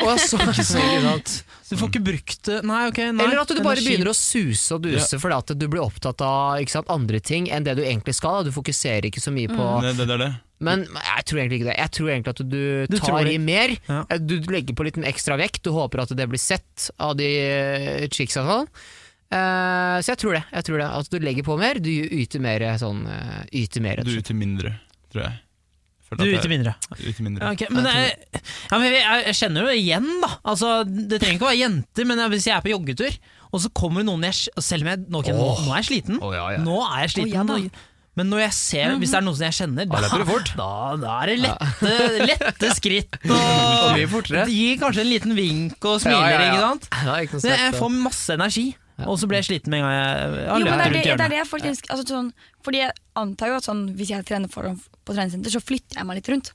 Speaker 6: Å, så, ikke sant?
Speaker 5: Du får ikke brukt det Nei, ok. Nei.
Speaker 6: Eller at du bare begynner å suse og duse fordi at du blir opptatt av ikke sant, andre ting enn det du egentlig skal. Da. Du fokuserer ikke så mye
Speaker 5: Mm.
Speaker 6: på
Speaker 7: Det, det, det er det.
Speaker 6: Men jeg tror egentlig ikke det. Jeg tror egentlig at du,
Speaker 5: Du tror
Speaker 6: tar
Speaker 5: det.
Speaker 6: i mer. Eh,
Speaker 5: Ja.
Speaker 6: Du legger på litt ekstra vekt. Du håper at det blir sett av de eh, chicksa og sånn. Eh, så jeg tror det. jeg tror det At du legger på mer, du yter mer sånn eh, Yter mer, rett
Speaker 7: Du
Speaker 6: og slett.
Speaker 7: yter mindre, tror jeg.
Speaker 5: Du yter mindre.
Speaker 7: Yter mindre.
Speaker 5: Ja, ok, Men, jeg, ja, men jeg, jeg kjenner jo det igjen, da. Altså, det trenger ikke å være jenter, men hvis jeg er på joggetur, og så kommer det noen jeg s- Selv om jeg nå, ok, nå, nå er jeg sliten,
Speaker 6: Å, ja, ja.
Speaker 5: Nå er jeg sliten
Speaker 8: Å, ja Mhm. da.
Speaker 5: nå- men når jeg ser, hvis det er noen som jeg kjenner, da, da, da er det lette, lette skritt. Og
Speaker 6: mye fortere.
Speaker 5: de gir kanskje en liten vink og smiler.
Speaker 6: Ja, ja, ja.
Speaker 5: ikke sant?
Speaker 6: Ja, ikke noe
Speaker 5: Så jeg
Speaker 6: stress,
Speaker 5: får masse energi, og så blir jeg sliten med en gang jeg har
Speaker 8: Jo, men det
Speaker 5: løpt rundt
Speaker 8: er det, det, er
Speaker 5: hjørnet.
Speaker 8: det jeg faktisk altså, sånn, Fordi jeg antar jo at sånn, hvis jeg trener foran på treningssenter, så flytter jeg meg litt rundt.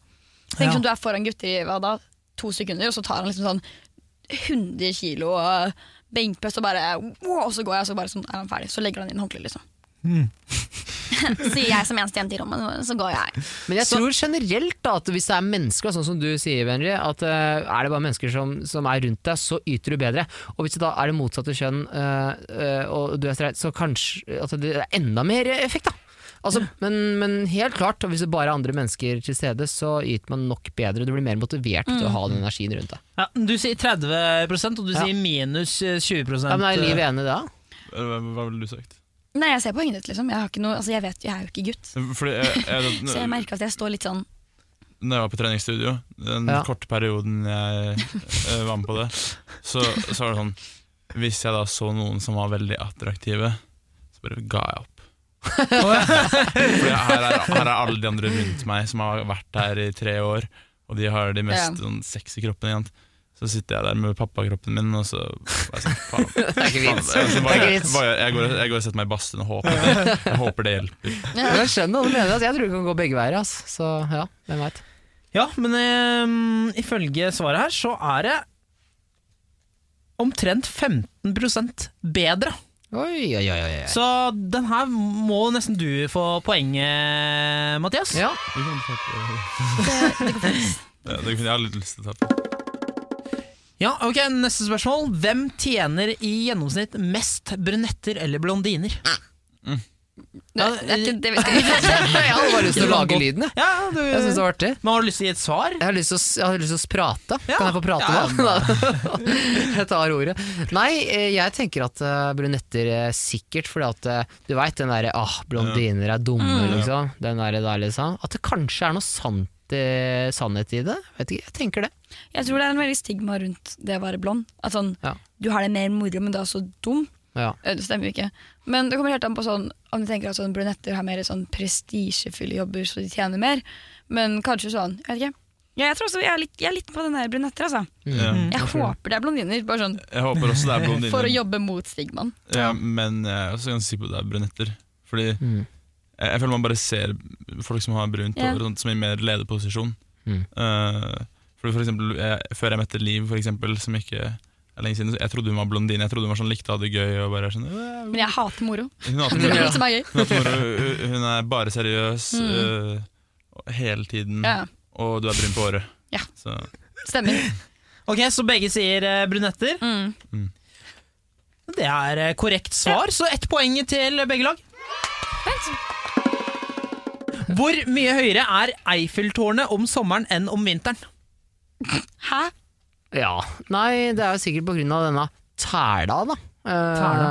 Speaker 8: Tenk
Speaker 5: Ja.
Speaker 8: sånn, Du er foran gutter i hva da, to sekunder, og så tar han liksom sånn 100 kilo eh, benkpress, og bare wow, Og så går jeg, og så bare sånn, er han ferdig. Så legger han inn håndkleet, liksom.
Speaker 6: Mm.
Speaker 8: Sier jeg som eneste jente i rommet, så går jeg.
Speaker 6: da. Men jeg tror generelt da at hvis det er mennesker, sånn som du sier, Benji, at eh, er det bare mennesker som, som er rundt deg, så yter du bedre. Og hvis det da er det motsatte kjønn eh, eh, og du er streit, så kanskje at det er enda mer effekt, da. Altså, men, men helt klart, hvis det bare er andre mennesker til stede, så yter man nok bedre. Du blir mer motivert til å ha den energien rundt deg.
Speaker 5: Ja, du sier 30 og du
Speaker 6: Ja.
Speaker 5: sier minus eh, 20
Speaker 6: Ja, men Er livet enig i det? da?
Speaker 7: Hva, hva ville du sagt?
Speaker 8: Nei, jeg ser poenget ditt, liksom. Jeg, har ikke noe, altså, jeg vet, jeg er jo ikke gutt.
Speaker 7: Fordi jeg, jeg,
Speaker 8: Så jeg merker at jeg står litt sånn
Speaker 7: når jeg var på treningsstudio, den
Speaker 6: Ja.
Speaker 7: korte perioden jeg eh, var med på det, så, så var det sånn Hvis jeg da så noen som var veldig attraktive, så bare ga jeg opp. For her, er- her er alle de andre rundt meg som har vært her i tre år, og de har de mest sånn, sexy kroppene. Igjen. Så sitter jeg der med pappakroppen min, og så er jeg sånn, faen,
Speaker 6: Det er ikke
Speaker 7: faen,
Speaker 6: vits.
Speaker 7: altså, hva
Speaker 6: Det er
Speaker 7: gjør-
Speaker 6: ikke vits.
Speaker 7: hva gjør- Jeg går jeg går og setter meg i badstuen og håper det, jeg håper det hjelper.
Speaker 6: Men Jeg skjønner hva du mener. ass. Jeg tror det kan gå begge veier. ass. Så ja, hvem veit.
Speaker 5: Ja, men eh, ifølge svaret her så er det omtrent 15 bedre.
Speaker 6: Oi, oi, oi, oi.
Speaker 5: Så den her må nesten du få poenget, Mathias.
Speaker 6: Ja.
Speaker 7: Det, det, jeg har litt lyst til å ta på.
Speaker 5: Ja, ok, Neste spørsmål. Hvem tjener i gjennomsnitt mest brunetter eller blondiner?
Speaker 8: Det, det, er ikke- det, vet jeg ikke.
Speaker 6: Jeg hadde bare lyst til å lage lyden, jeg.
Speaker 5: Ja, du,
Speaker 6: Jeg syns det
Speaker 5: men
Speaker 6: var artig.
Speaker 5: Har du lyst til å gi et svar?
Speaker 6: Jeg har lyst til å, s- jeg har lyst til å prate.
Speaker 5: Ja.
Speaker 6: Kan jeg få prate
Speaker 5: Ja,
Speaker 6: nå? jeg tar ordet. Nei, eh, jeg tenker at eh, brunetter eh, sikkert, fordi at eh, du veit den derre ah, blondiner er dumme,
Speaker 5: Mm.
Speaker 6: liksom. Den derre der, liksom. At det kanskje er noe sant, eh, sannhet i det. Vet ikke, jeg tenker det.
Speaker 8: Jeg tror det er en veldig stigma rundt det å være blond. At sånn,
Speaker 6: Ja.
Speaker 8: Du har det mer moro, men du er så dum.
Speaker 6: Ja.
Speaker 8: Eh, Det stemmer jo ikke. Men det kommer helt an på sånn, om du tenker at sånn brunetter har mer sånn prestisjefulle jobber, så de tjener mer. Men kanskje sånn, jeg vet ikke. Ja, jeg tror også jeg er litt, jeg er litt på den der brunetter, altså.
Speaker 7: Ja.
Speaker 8: Jeg håper det er blondiner, bare sånn
Speaker 7: Jeg håper også det er
Speaker 8: for å
Speaker 7: blondiner.
Speaker 8: jobbe mot stigmaen.
Speaker 7: Ja, men eh, jeg er også ganske sikker på at det er brunetter. Fordi
Speaker 6: Mm.
Speaker 7: jeg, jeg føler man bare ser folk som har brunt
Speaker 8: Ja.
Speaker 7: hår, og sånt, som er i mer lederposisjon.
Speaker 6: Mm.
Speaker 7: Eh, fordi for eksempel, jeg, før jeg møtte Liv, for eksempel, som ikke er lenge siden, så jeg trodde hun var blondine. Jeg trodde hun var sånn likte å ha det gøy. Og bare sånn, «Øh,
Speaker 8: Men jeg hater moro.
Speaker 7: hun, har hatt
Speaker 8: Det er
Speaker 7: moro.
Speaker 8: det som er gøy.
Speaker 7: hun, har hatt moro, hun- hun er bare seriøs øh, og hele tiden,
Speaker 8: Mm. Ja,
Speaker 7: og du er brun på håret.
Speaker 8: Ja.
Speaker 7: Så,
Speaker 8: stemmer.
Speaker 5: Ok, Så begge sier eh, brunetter.
Speaker 8: Mm.
Speaker 5: Det er eh, korrekt svar, så ett poeng til begge lag. Hvor mye høyere er Eiffeltårnet om sommeren enn om vinteren?
Speaker 8: Hæ?
Speaker 6: ja. Nei, det er jo sikkert på grunn av denne tæla, da. Eh,
Speaker 5: Tæla?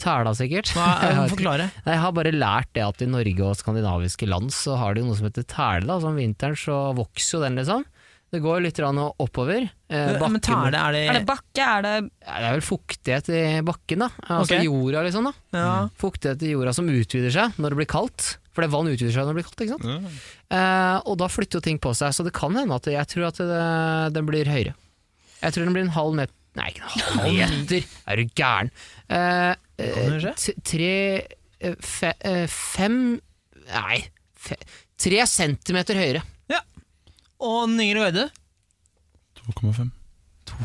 Speaker 6: Tæla, sikkert.
Speaker 5: Hva,
Speaker 6: Jeg
Speaker 5: eh,
Speaker 6: vet ikke.
Speaker 5: forklare.
Speaker 6: Nei, Jeg har bare lært det at i Norge og skandinaviske land så har de jo noe som heter tæle. da, så Om vinteren så vokser jo den, liksom. Det går litt grann oppover. Eh,
Speaker 5: Ja, Men
Speaker 6: bakken-
Speaker 5: tæle, er det,
Speaker 8: Er det bakke? Er det
Speaker 6: Ja, det er vel fuktighet i bakken, da. Altså
Speaker 5: Ok.
Speaker 6: jorda, liksom. da.
Speaker 5: ja.
Speaker 6: Fuktighet i jorda som utvider seg når det blir kaldt. For det vann utvider seg når det blir kaldt. ikke sant?
Speaker 7: ja.
Speaker 6: Eh, og da flytter jo ting på seg. Så det kan hende at jeg tror at det, den blir høyere. Jeg tror den blir en halv meter Nei, ikke en halv meter! Er du gæren? Eh, eh,
Speaker 5: Kan det skje?
Speaker 6: t- tre eh, fe, eh, Fem Nei. Fe, Tre centimeter høyere.
Speaker 5: Og den yngre Veide?
Speaker 7: 2,5.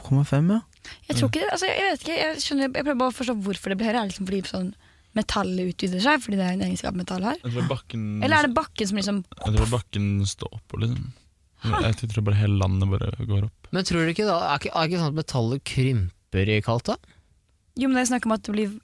Speaker 5: 2,5, ja.
Speaker 8: Jeg tror ikke det, altså jeg vet ikke, jeg skjønner, jeg prøver bare å forstå hvorfor det blir høyere. Er det liksom fordi sånn metallet utvider seg, fordi det er en egenskap metall har?
Speaker 7: Jeg tror bakken,
Speaker 8: Eller er det bakken som liksom
Speaker 7: jeg tror bakken står oppå, liksom. Jeg tror bare hele landet bare går opp.
Speaker 6: Men tror du ikke da, er ikke, er ikke sånn at metallet krymper i kaldt da?
Speaker 8: Jo, men det er snakk om at det blir,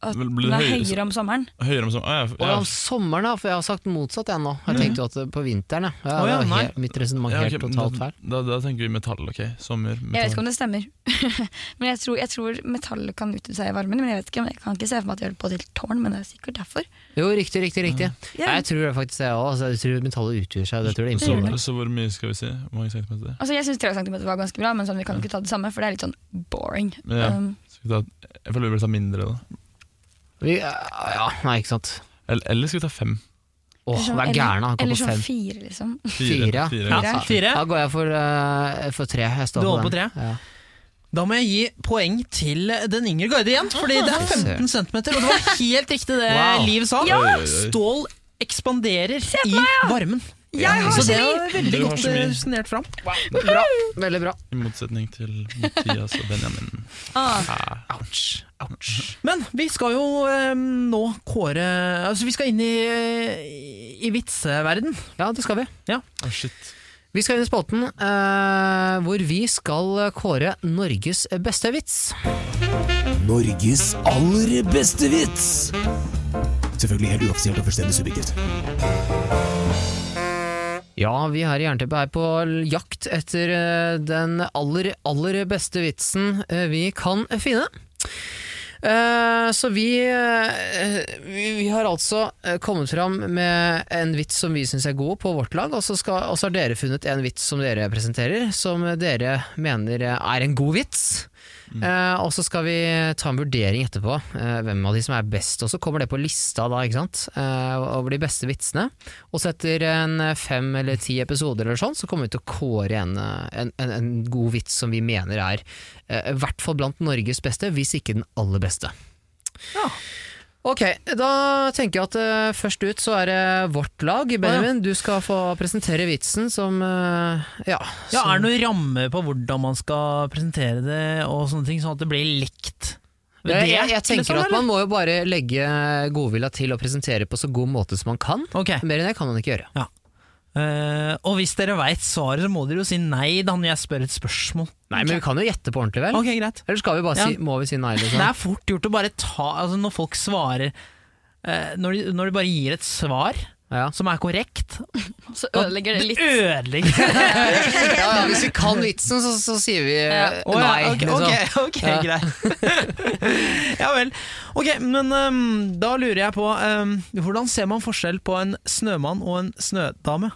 Speaker 8: at
Speaker 7: Vel, blir
Speaker 8: den
Speaker 7: det
Speaker 8: er
Speaker 7: høyere-
Speaker 8: høyere om sommeren.
Speaker 7: Høyere om som... Ah,
Speaker 6: Og
Speaker 7: ja,
Speaker 6: om sommeren da, for jeg har sagt motsatt jeg nå. Jeg tenkte jo at det på vinteren, ja. ja,
Speaker 5: Å ja,
Speaker 6: det var
Speaker 5: nei.
Speaker 6: helt, mitt resonemang
Speaker 7: ja,
Speaker 6: helt
Speaker 7: ok, men
Speaker 6: totalt
Speaker 7: da,
Speaker 6: feil.
Speaker 7: da, da tenker vi metall, ok. Sommer,
Speaker 8: Jeg vet ikke
Speaker 7: metall.
Speaker 8: om det stemmer. men jeg tror, jeg tror metallet kan utnytte seg i varmen. Men jeg vet ikke, men jeg kan ikke se for meg at det gjør det på til tårn, men det er sikkert derfor.
Speaker 6: Jo, riktig, riktig, riktig.
Speaker 5: Mm.
Speaker 6: Nei, Jeg tror det faktisk jeg også. Altså, jeg tror metallet utgjør seg. Det tror jeg det
Speaker 7: Så,
Speaker 6: imponerer.
Speaker 7: så hvor mye skal vi si? Hvor mange centimeter?
Speaker 8: Altså, jeg syns 3 cm var ganske bra, men sånn, vi kan jo ikke ta det samme, for det er litt sånn boring.
Speaker 7: Men ja.
Speaker 8: Um,
Speaker 7: Skal vi ta, jeg føler vi burde ta mindre, da.
Speaker 6: Vi, ja, nei, ikke sant.
Speaker 7: Eller, eller skal vi ta fem?
Speaker 6: Åh,
Speaker 8: eller sånn-
Speaker 6: hva er gæren han går
Speaker 8: Eller
Speaker 6: på
Speaker 8: sånn
Speaker 6: fem.
Speaker 8: fire, liksom.
Speaker 6: Fire.
Speaker 7: Fire.
Speaker 5: ja. Fire.
Speaker 6: Da går jeg for, eh, for tre. Jeg står
Speaker 5: Du holder
Speaker 6: den.
Speaker 5: på Da må jeg gi poeng til den yngre guide igjen, fordi det er 15 cm, og det var helt riktig det
Speaker 6: Wow.
Speaker 5: Liv sa.
Speaker 7: Ja. Oi, oi, oi.
Speaker 5: Stål ekspanderer i varmen.
Speaker 8: Jeg har
Speaker 5: Så det
Speaker 8: kjemi!
Speaker 5: var veldig
Speaker 7: Du har
Speaker 5: godt
Speaker 7: kjemi.
Speaker 5: eh, resonert fram.
Speaker 6: Ja. Bra. Veldig bra.
Speaker 7: I motsetning til Mathias og Benjamin.
Speaker 8: Ah,
Speaker 6: Ouch. Ouch.
Speaker 5: Men vi skal jo eh, nå kåre Altså, vi skal inn i, eh, i vitseverden.
Speaker 6: Ja, det skal vi.
Speaker 7: Å, shit.
Speaker 6: Vi skal inn i spalten eh, hvor vi skal kåre Norges beste vits.
Speaker 9: Norges aller beste vits. Selvfølgelig helt uoffisielt og fullstendig subjektivt.
Speaker 6: Ja, vi her i Jernteppet er på jakt etter eh, den aller, aller beste vitsen eh, vi kan finne. Eh, så vi, eh, vi Vi har altså eh, kommet fram med en vits som vi syns er god på vårt lag, og så, skal, og så har dere funnet en vits som dere presenterer, som dere mener er en god vits.
Speaker 5: Mm.
Speaker 6: Eh, og så skal vi ta en vurdering etterpå, eh, hvem av de som er best. Og så kommer det på lista da, ikke sant? Eh, over de beste vitsene. Og så etter en eh, fem eller ti episoder eller sånn, så kommer vi til å kåre en, eh, en, en, en god vits som vi mener er eh, i hvert fall blant Norges beste, hvis ikke den aller beste. Ok, da tenker jeg at eh, først ut så er det vårt lag. Benjamin, du skal få presentere vitsen som eh, Ja.
Speaker 5: Ja,
Speaker 6: som-
Speaker 5: er det noen ramme på hvordan man skal presentere det, og sånne ting, sånn at det blir likt? Ved
Speaker 6: Jeg,
Speaker 5: det,
Speaker 6: jeg, jeg tenker
Speaker 5: liksom,
Speaker 6: at man må jo bare legge godvilja til å presentere på så god måte som man kan.
Speaker 5: eller? Ok.
Speaker 6: Mer enn det kan man ikke gjøre.
Speaker 5: Eh, og hvis dere veit svaret, så må dere jo si nei da når jeg spør et spørsmål.
Speaker 6: Nei, Men vi kan jo gjette på ordentlig, vel?
Speaker 5: Ok, greit.
Speaker 6: Eller skal vi bare
Speaker 5: Ja.
Speaker 6: si, må vi si nei?
Speaker 5: Det
Speaker 6: Liksom?
Speaker 5: er fort gjort å bare ta altså Når folk svarer eh, når, de, når de bare gir et svar
Speaker 6: Ja.
Speaker 5: som er korrekt,
Speaker 8: så ødelegger det litt.
Speaker 5: ødelegger
Speaker 6: Ja, ja, hvis vi kan vitsen, så, så sier vi eh,
Speaker 5: Å ja,
Speaker 6: nei.
Speaker 5: ok,
Speaker 6: liksom.
Speaker 5: ok, ok,
Speaker 6: Ja.
Speaker 5: greit. ja vel. Ok, men ehm, da lurer jeg på ehm, Hvordan ser man forskjell på en snømann og en snødame?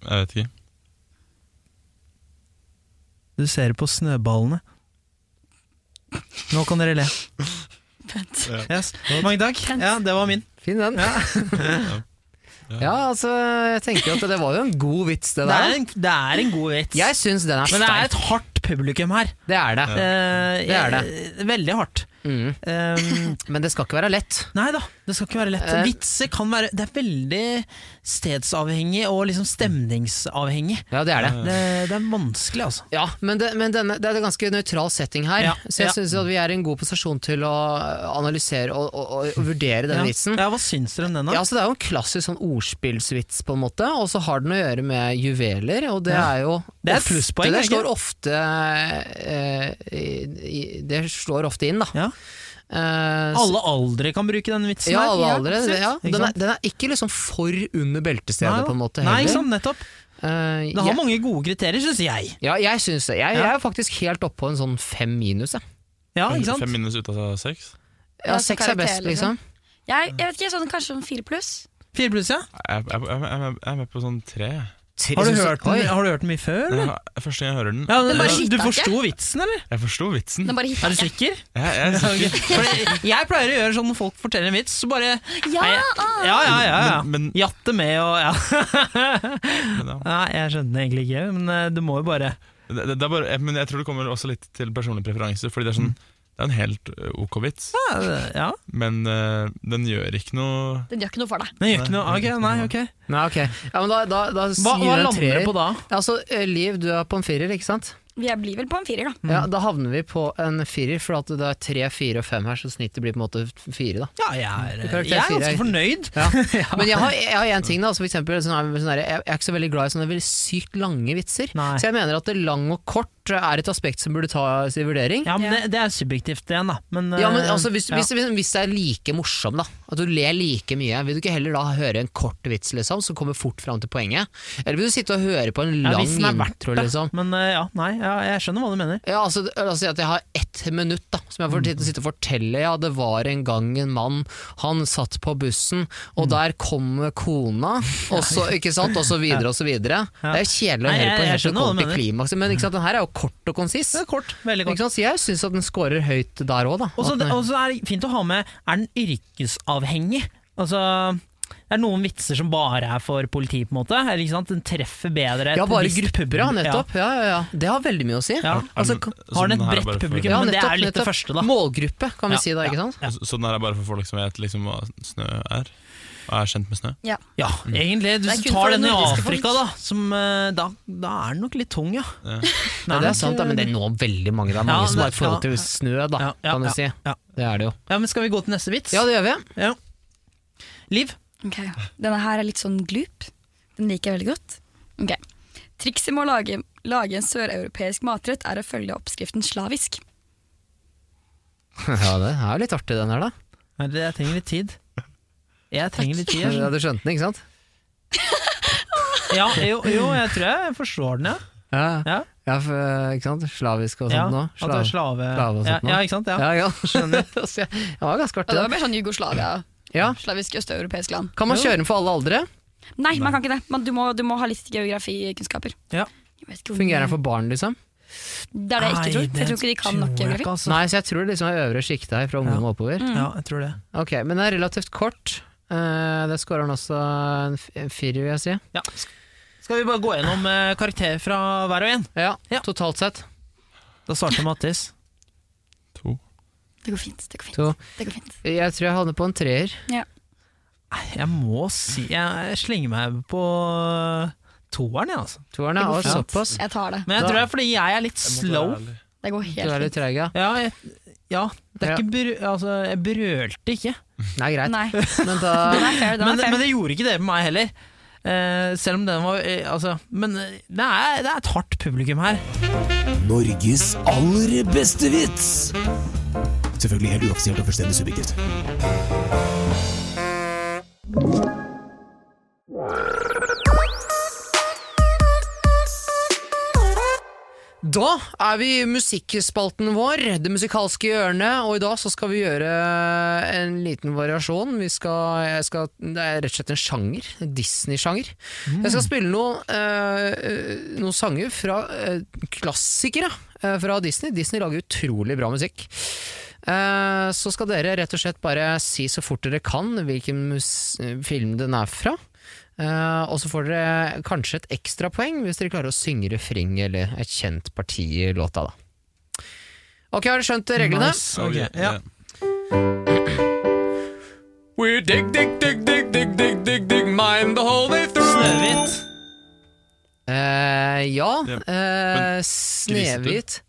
Speaker 7: Jeg vet ikke.
Speaker 5: Du ser på snøballene. Nå kan dere le.
Speaker 8: Pent.
Speaker 5: Yes. Mange takk. Ja, det var min.
Speaker 6: Fin den. Ja. altså, jeg tenker at det var jo en god vits, det
Speaker 5: Det er
Speaker 6: der.
Speaker 5: en, det er en god vits.
Speaker 6: Jeg syns den er
Speaker 5: Men det er
Speaker 6: sterk.
Speaker 5: et hardt publikum her.
Speaker 6: Det er det.
Speaker 5: Eh,
Speaker 6: Det er
Speaker 5: eh, Veldig hardt.
Speaker 6: Mm.
Speaker 5: Um,
Speaker 6: Men det skal ikke være lett.
Speaker 5: nei da, det skal ikke være lett.
Speaker 6: Eh.
Speaker 5: Vitser kan være Det er veldig stedsavhengig og liksom stemningsavhengig.
Speaker 6: Ja, det er det.
Speaker 5: Det, det er vanskelig, altså.
Speaker 6: Ja, men, det, men denne, det er en ganske nøytral setting her,
Speaker 5: Ja,
Speaker 6: så jeg
Speaker 5: ja.
Speaker 6: synes syns vi er i en god posisjon til å analysere og, og, og, og vurdere denne
Speaker 5: Ja.
Speaker 6: vitsen.
Speaker 5: Ja, hva syns dere om den, da?
Speaker 6: Ja, så Det er jo en klassisk sånn ordspillsvits, på en måte, og så har den å gjøre med juveler. Og det
Speaker 5: Ja.
Speaker 6: er jo
Speaker 5: Det er et
Speaker 6: ofte-
Speaker 5: plusspoeng,
Speaker 6: Det
Speaker 5: ikke?
Speaker 6: slår ofte eh, i, i, Det slår ofte inn, da.
Speaker 5: Ja.
Speaker 6: Eh, så-
Speaker 5: Alle aldre kan bruke den vitsen.
Speaker 6: ja,
Speaker 5: her.
Speaker 6: alle
Speaker 8: ja,
Speaker 6: aldre.
Speaker 8: absolutt.
Speaker 6: Ja.
Speaker 5: Ikke
Speaker 6: Den, er,
Speaker 5: sant?
Speaker 6: den er ikke liksom for under beltestedet,
Speaker 5: Nei da.
Speaker 6: på en måte.
Speaker 5: Nei,
Speaker 6: heller.
Speaker 5: ikke sant, nettopp.
Speaker 6: Eh,
Speaker 5: Det har
Speaker 6: ja.
Speaker 5: mange gode kriterier, syns jeg.
Speaker 6: ja, jeg syns det. Jeg, jeg er faktisk helt oppe på en sånn fem minus. Jeg.
Speaker 5: Ja,
Speaker 7: Fem,
Speaker 5: Ah, ikke
Speaker 7: fem
Speaker 5: sant?
Speaker 7: minus ut av seks?
Speaker 6: Ja,
Speaker 8: Ja, så
Speaker 6: seks er best,
Speaker 8: karakter,
Speaker 6: liksom.
Speaker 8: liksom. Jeg, jeg vet ikke, sånn, kanskje sånn fire pluss?
Speaker 5: Fire pluss, ja.
Speaker 7: Jeg, jeg, jeg, jeg, jeg er med på sånn tre. jeg.
Speaker 5: Har du
Speaker 6: Jeg synes-
Speaker 5: hørt den,
Speaker 6: Oi. Mm.
Speaker 5: har du hørt den mye før?
Speaker 7: Jeg,
Speaker 5: Eller?
Speaker 7: har- første gang jeg hører den
Speaker 5: Ja, men-
Speaker 8: Den bare
Speaker 5: ja, du
Speaker 8: skitter
Speaker 5: forsto vitsen, eller?
Speaker 7: Jeg forsto vitsen.
Speaker 8: Den
Speaker 7: Jeg,
Speaker 8: bare
Speaker 5: Er
Speaker 8: hitter
Speaker 5: du
Speaker 8: ikke.
Speaker 5: sikker?
Speaker 7: jeg, er sikker.
Speaker 5: Fordi jeg pleier å gjøre sånn når folk forteller en vits, så bare
Speaker 8: Ja!
Speaker 5: Nei,
Speaker 8: ah.
Speaker 5: Ja, ja, ja. ja.
Speaker 7: Men, men,
Speaker 5: Jatte med og ja.
Speaker 7: men ja.
Speaker 5: Nei, jeg skjønner det egentlig ikke, men eh, du må jo bare Mm.
Speaker 7: Det, det, det er bare, jeg, men jeg tror det kommer også litt til personlig preferanse. Fordi det er sånn Det er en helt ø, ok vits,
Speaker 5: Ja, det- ja.
Speaker 7: men ø, den gjør ikke noe
Speaker 8: Den gjør ikke noe for deg.
Speaker 5: Den gjør ikke noe ah, ok, Nei, ok.
Speaker 6: Nei, ok. Ja, men da, da, da
Speaker 5: Hva, hva
Speaker 6: sier du en
Speaker 5: lander det
Speaker 6: treer.
Speaker 5: på da?
Speaker 6: Ja, Altså, eh, Liv, du er på en firer, ikke sant?
Speaker 8: Jeg blir vel på en firer, da.
Speaker 6: Ja, Da havner vi på en firer, for at det er tre, fire og fem her, så snittet blir på en måte fire.
Speaker 5: Ja,
Speaker 6: da.
Speaker 5: jeg er,
Speaker 6: Karakter
Speaker 5: jeg er
Speaker 6: fire.
Speaker 5: ganske fornøyd.
Speaker 6: Ja. Men jeg har, jeg har en ting, da. Altså for eksempel, sånn, her- sånn her, jeg jeg er ikke så veldig glad i sånne veldig sykt lange vitser.
Speaker 5: Nei.
Speaker 6: Så jeg mener at det lang og kort er et aspekt som burde tas i vurdering.
Speaker 5: Ja, men det, det er subjektivt igjen, da. Men,
Speaker 6: Ja, men
Speaker 5: eh,
Speaker 6: altså, hvis,
Speaker 5: ja.
Speaker 6: hvis, hvis, hvis det er like morsom, da, at du ler like mye, vil du ikke heller da høre en kort vits liksom, som kommer fort fram til poenget? Eller vil du sitte og høre på en
Speaker 5: Ja,
Speaker 6: lang
Speaker 5: hvis den er verdt
Speaker 6: intro,
Speaker 5: det.
Speaker 6: liksom?
Speaker 5: Men eh, ja, nei, ja, jeg skjønner hva du mener.
Speaker 6: Ja, altså, La oss si at jeg har ett minutt da, som jeg får tid til å sitte og fortelle. Ja, det var en gang en mann, han satt på bussen, og
Speaker 5: Mm.
Speaker 6: der kom kona, og så, ikke sant, og så videre og så videre.
Speaker 5: Ja.
Speaker 6: Det er jo kjedelig å
Speaker 5: Nei, jeg-
Speaker 6: høre på
Speaker 5: jeg
Speaker 6: helt til
Speaker 5: skjønner
Speaker 6: det
Speaker 5: hva du
Speaker 6: kommer til klimakset, men ikke sant, den her er jo kort og konsis.
Speaker 5: Det er kort, veldig
Speaker 6: Ikke
Speaker 5: kort.
Speaker 6: sant? Så jeg syns at den scorer høyt der òg, da.
Speaker 5: Og så
Speaker 6: At
Speaker 5: det-
Speaker 6: den-
Speaker 5: og så er det fint å ha med Er den yrkesavhengig? Altså det er noen vitser som bare er for politi, på en måte. Eller, ikke sant? Den treffer bedre et
Speaker 6: ja, bare
Speaker 5: visst
Speaker 6: grupper, ja,
Speaker 5: publikum.
Speaker 6: nettopp. Ja, ja, ja. Det har veldig mye å si.
Speaker 5: Ja. Ja. Altså,
Speaker 7: Er den-
Speaker 5: har den
Speaker 7: sånn
Speaker 5: et
Speaker 7: her er bare
Speaker 5: bredt
Speaker 7: for-
Speaker 5: publikum,
Speaker 6: Ja,
Speaker 5: men det
Speaker 6: nettopp,
Speaker 5: er litt
Speaker 6: nettopp.
Speaker 5: det første, da.
Speaker 6: Målgruppe, kan vi
Speaker 5: Ja,
Speaker 6: si da,
Speaker 5: ja.
Speaker 6: ikke sant?
Speaker 5: Ja.
Speaker 7: Så- Sånn er det bare for folk som vet liksom, hva snø er, og er kjent med snø.
Speaker 8: Ja.
Speaker 5: Ja, Mm. egentlig. Du
Speaker 8: Det er kun
Speaker 5: tar
Speaker 8: for
Speaker 5: den i
Speaker 8: nordiske
Speaker 5: Afrika,
Speaker 8: folk.
Speaker 5: da, som, eh, da. Da er den nok litt tung, ja. Nei,
Speaker 7: Ja.
Speaker 6: Ja,
Speaker 5: den
Speaker 6: det er sant, da, men det er nå veldig mange. Det er mange
Speaker 5: Ja,
Speaker 6: som har
Speaker 5: det-
Speaker 6: et forhold
Speaker 5: ja.
Speaker 6: til snø, da,
Speaker 5: Ja, ja,
Speaker 6: kan du
Speaker 5: ja,
Speaker 6: si.
Speaker 5: ja.
Speaker 6: Det er det jo.
Speaker 5: Ja, men Skal vi gå til neste vits?
Speaker 6: Ja, det gjør vi.
Speaker 5: Ja. Liv?
Speaker 8: Ok, Denne her er litt sånn glup. Den liker jeg veldig godt. Ok, Trikset med å lage, lage en søreuropeisk matrett er å følge oppskriften slavisk.
Speaker 6: Ja, det er jo litt artig, den her, da.
Speaker 5: Nei, det- Jeg trenger litt tid. Jeg trenger litt tid.
Speaker 6: Ja,
Speaker 5: jeg.
Speaker 6: Du skjønte den, ikke sant?
Speaker 5: Ja, jo, jo, jeg tror jeg forstår den, ja.
Speaker 6: Ja,
Speaker 5: Ja.
Speaker 6: ja for, eh, ikke sant? Slavisk og sånt
Speaker 5: ja
Speaker 6: nå.
Speaker 5: at du er slave.
Speaker 6: slave og
Speaker 5: ja,
Speaker 6: sånt nå.
Speaker 5: ja, ikke sant? Ja.
Speaker 6: Ja, ja. Altså, jeg- Det var ganske
Speaker 8: Og
Speaker 6: artig,
Speaker 8: det
Speaker 6: da.
Speaker 8: var mer sånn Jugoslavia,
Speaker 6: Ja.
Speaker 8: slavisk østeuropeisk land.
Speaker 6: Kan man kjøre den for alle aldre?
Speaker 8: Nei, man kan ikke det. Men du må, du må ha litt geografikunnskaper.
Speaker 5: Ja.
Speaker 8: Jeg vet ikke om-
Speaker 6: Fungerer den
Speaker 5: Mm.
Speaker 6: for barn, liksom?
Speaker 8: Det er det jeg ikke tror. Jeg tror ikke de kan nok
Speaker 5: tror jeg
Speaker 8: geografi.
Speaker 5: ikke, altså.
Speaker 6: Nei, så jeg tror det liksom er øvre sjiktet her, fra ungdom og oppover.
Speaker 5: Ja, jeg tror det.
Speaker 6: Ok, Men det er relativt kort. Eh, det scorer han også en f- en firer, vil jeg si.
Speaker 5: Ja. Skal vi bare gå gjennom eh, karakterer fra hver og en?
Speaker 6: Ja,
Speaker 5: Ja.
Speaker 6: totalt sett.
Speaker 5: Da starter Mattis.
Speaker 7: To.
Speaker 8: Det går fint. Det går fint.
Speaker 6: To.
Speaker 8: Det går fint.
Speaker 6: Jeg tror jeg havner på en treer.
Speaker 5: Nei, Jeg må si Jeg jeg slenger meg på toeren, jeg, altså.
Speaker 6: Toeren
Speaker 8: Det
Speaker 6: er
Speaker 8: går
Speaker 6: også
Speaker 8: fint.
Speaker 6: såpass.
Speaker 8: Jeg tar det.
Speaker 5: Men jeg tror det er fordi jeg er litt slow.
Speaker 8: Det går
Speaker 6: Du er
Speaker 8: helt
Speaker 6: litt
Speaker 8: fint.
Speaker 6: treig, ja.
Speaker 5: Ja, jeg, ja det er
Speaker 6: Ja.
Speaker 5: ikke br Altså, jeg brølte ikke.
Speaker 6: Nei, greit.
Speaker 8: Nei, den
Speaker 6: Men da
Speaker 8: er fair. Den
Speaker 5: Men,
Speaker 8: er fair.
Speaker 5: men det gjorde ikke det med meg heller. Eh, selv om den var eh, Altså, men eh, det er, det er et hardt publikum her.
Speaker 9: Norges aller beste vits. Selvfølgelig helt uoffisielt og fullstendig subjektivt.
Speaker 6: Da er vi i musikkspalten vår, det musikalske hjørnet, og i dag så skal vi gjøre en liten variasjon. Vi skal, jeg skal, det er rett og slett en sjanger, en Disney-sjanger. Jeg skal spille noen, eh, noen sanger fra eh, klassikere eh, fra Disney. Disney lager utrolig bra musikk. Eh, så skal dere rett og slett bare si så fort dere kan hvilken mus film den er fra. Eh, og så får dere kanskje et ekstra poeng hvis dere klarer å synge refreng eller et kjent parti i låta, da. Ok, har dere skjønt reglene?
Speaker 5: Nice. Ok, ja.
Speaker 6: We dig, dig, dig, dig, dig, dig, dig, dig, mine the whole day through.
Speaker 5: Snøhvit.
Speaker 6: Eh, ja,
Speaker 7: Ja.
Speaker 6: eh, Snehvit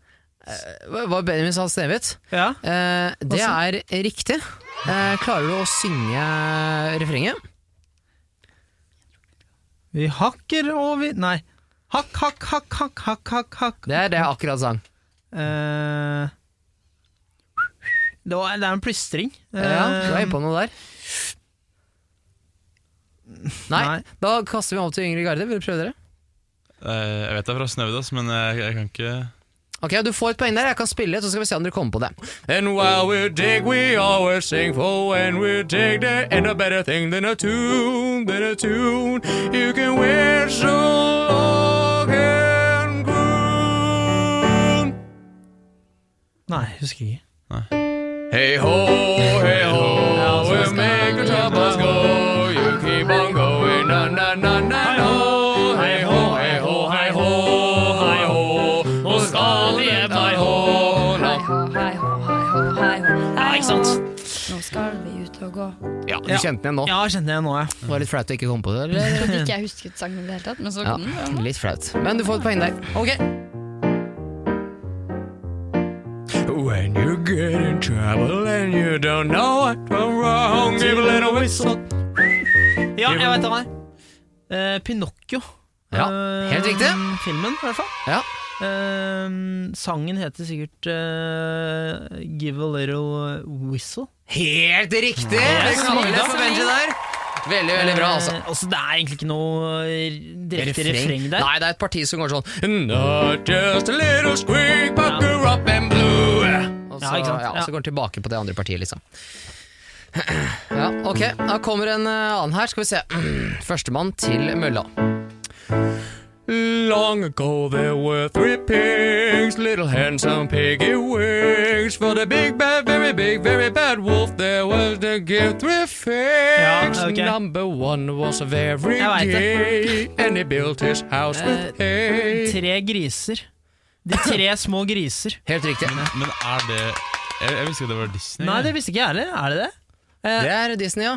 Speaker 6: Eh, Hva var Benjamin sa Snehvit?
Speaker 5: Ja.
Speaker 6: Eh, det er
Speaker 5: Også-
Speaker 6: riktig. Eh, klarer du å synge refrenget?
Speaker 5: Vi hakker og vi Nei. Hakk, hakk, hakk, hakk, hakk, hakk. hakk.
Speaker 6: Det er det jeg akkurat sang.
Speaker 5: Eh, det, var, det er en plystring. Eh,
Speaker 6: Ja, du er inne på noe der. Nei,
Speaker 5: Nei.
Speaker 6: da kaster vi om til Yngre Garde. Vil du prøve dere?
Speaker 7: Eh, Jeg vet det er fra Snøhvit, ass, men jeg, jeg kan ikke
Speaker 6: Ok, Du får et poeng der. Jeg kan spille, så skal vi se om dere kommer på det. And while we dig, we always sing for when we dig there ain't a better thing than a tune, than a tune you can wear so long and grown.
Speaker 5: Nei, husker ikke.
Speaker 6: Hey ho, hey ho, we'll make the top us go. You keep on going, na na na na no. Hey ho, hey ho, hey ho, hei ho. Og skal hjem, hei ho.
Speaker 8: Hei hå, hei hå, hei hå, tog og
Speaker 6: Ja, du
Speaker 5: Ja.
Speaker 6: kjente den igjen nå.
Speaker 5: Ja, kjente jeg nå, ja.
Speaker 6: Det var litt flaut å ikke komme på det. Eller?
Speaker 8: Trodde ikke jeg husket sangen i det hele tatt, men så
Speaker 6: Ja,
Speaker 8: kom den.
Speaker 6: litt flaut. Men du får et poeng der.
Speaker 5: Ok.
Speaker 6: When you get in trouble and you don't know what went wrong, give a little whistle.
Speaker 5: Ja, jeg veit hva det er. Eh, Pinocchio.
Speaker 6: Ja,
Speaker 5: Eh,
Speaker 6: helt riktig.
Speaker 5: Filmen, i hvert fall.
Speaker 6: Ja.
Speaker 5: Eh, sangen heter sikkert eh, Give a Little Whistle.
Speaker 6: Helt riktig! Det smiler for Benji der. Veldig, veldig bra, altså.
Speaker 5: Eh, altså, det er egentlig ikke noe eh, direkte refreng, der.
Speaker 6: Nei, det er et parti som går sånn Not just a little squeak, bucker up and blue. Og så,
Speaker 5: Ja, ikke sant?
Speaker 6: ja,
Speaker 5: Ja.
Speaker 6: så går den tilbake på det andre partiet, liksom. Ja, ok, da kommer en eh, annen her. Skal vi se. Førstemann til mølla. Long ago there were three pigs, little handsome piggy wings. For the big bad, very big, very bad wolf, there was to give three figs.
Speaker 5: Ja, ok.
Speaker 6: Number one was very
Speaker 5: Jeg vet det. Eh,
Speaker 6: gay, and he built his house with hay.
Speaker 5: Tre griser. De tre små griser.
Speaker 6: Helt riktig.
Speaker 5: Eh,
Speaker 7: Men er det Jeg, jeg visste ikke det var Disney.
Speaker 5: Nei, det visste ikke jeg heller. Er det det?
Speaker 6: Det er Disney, ja.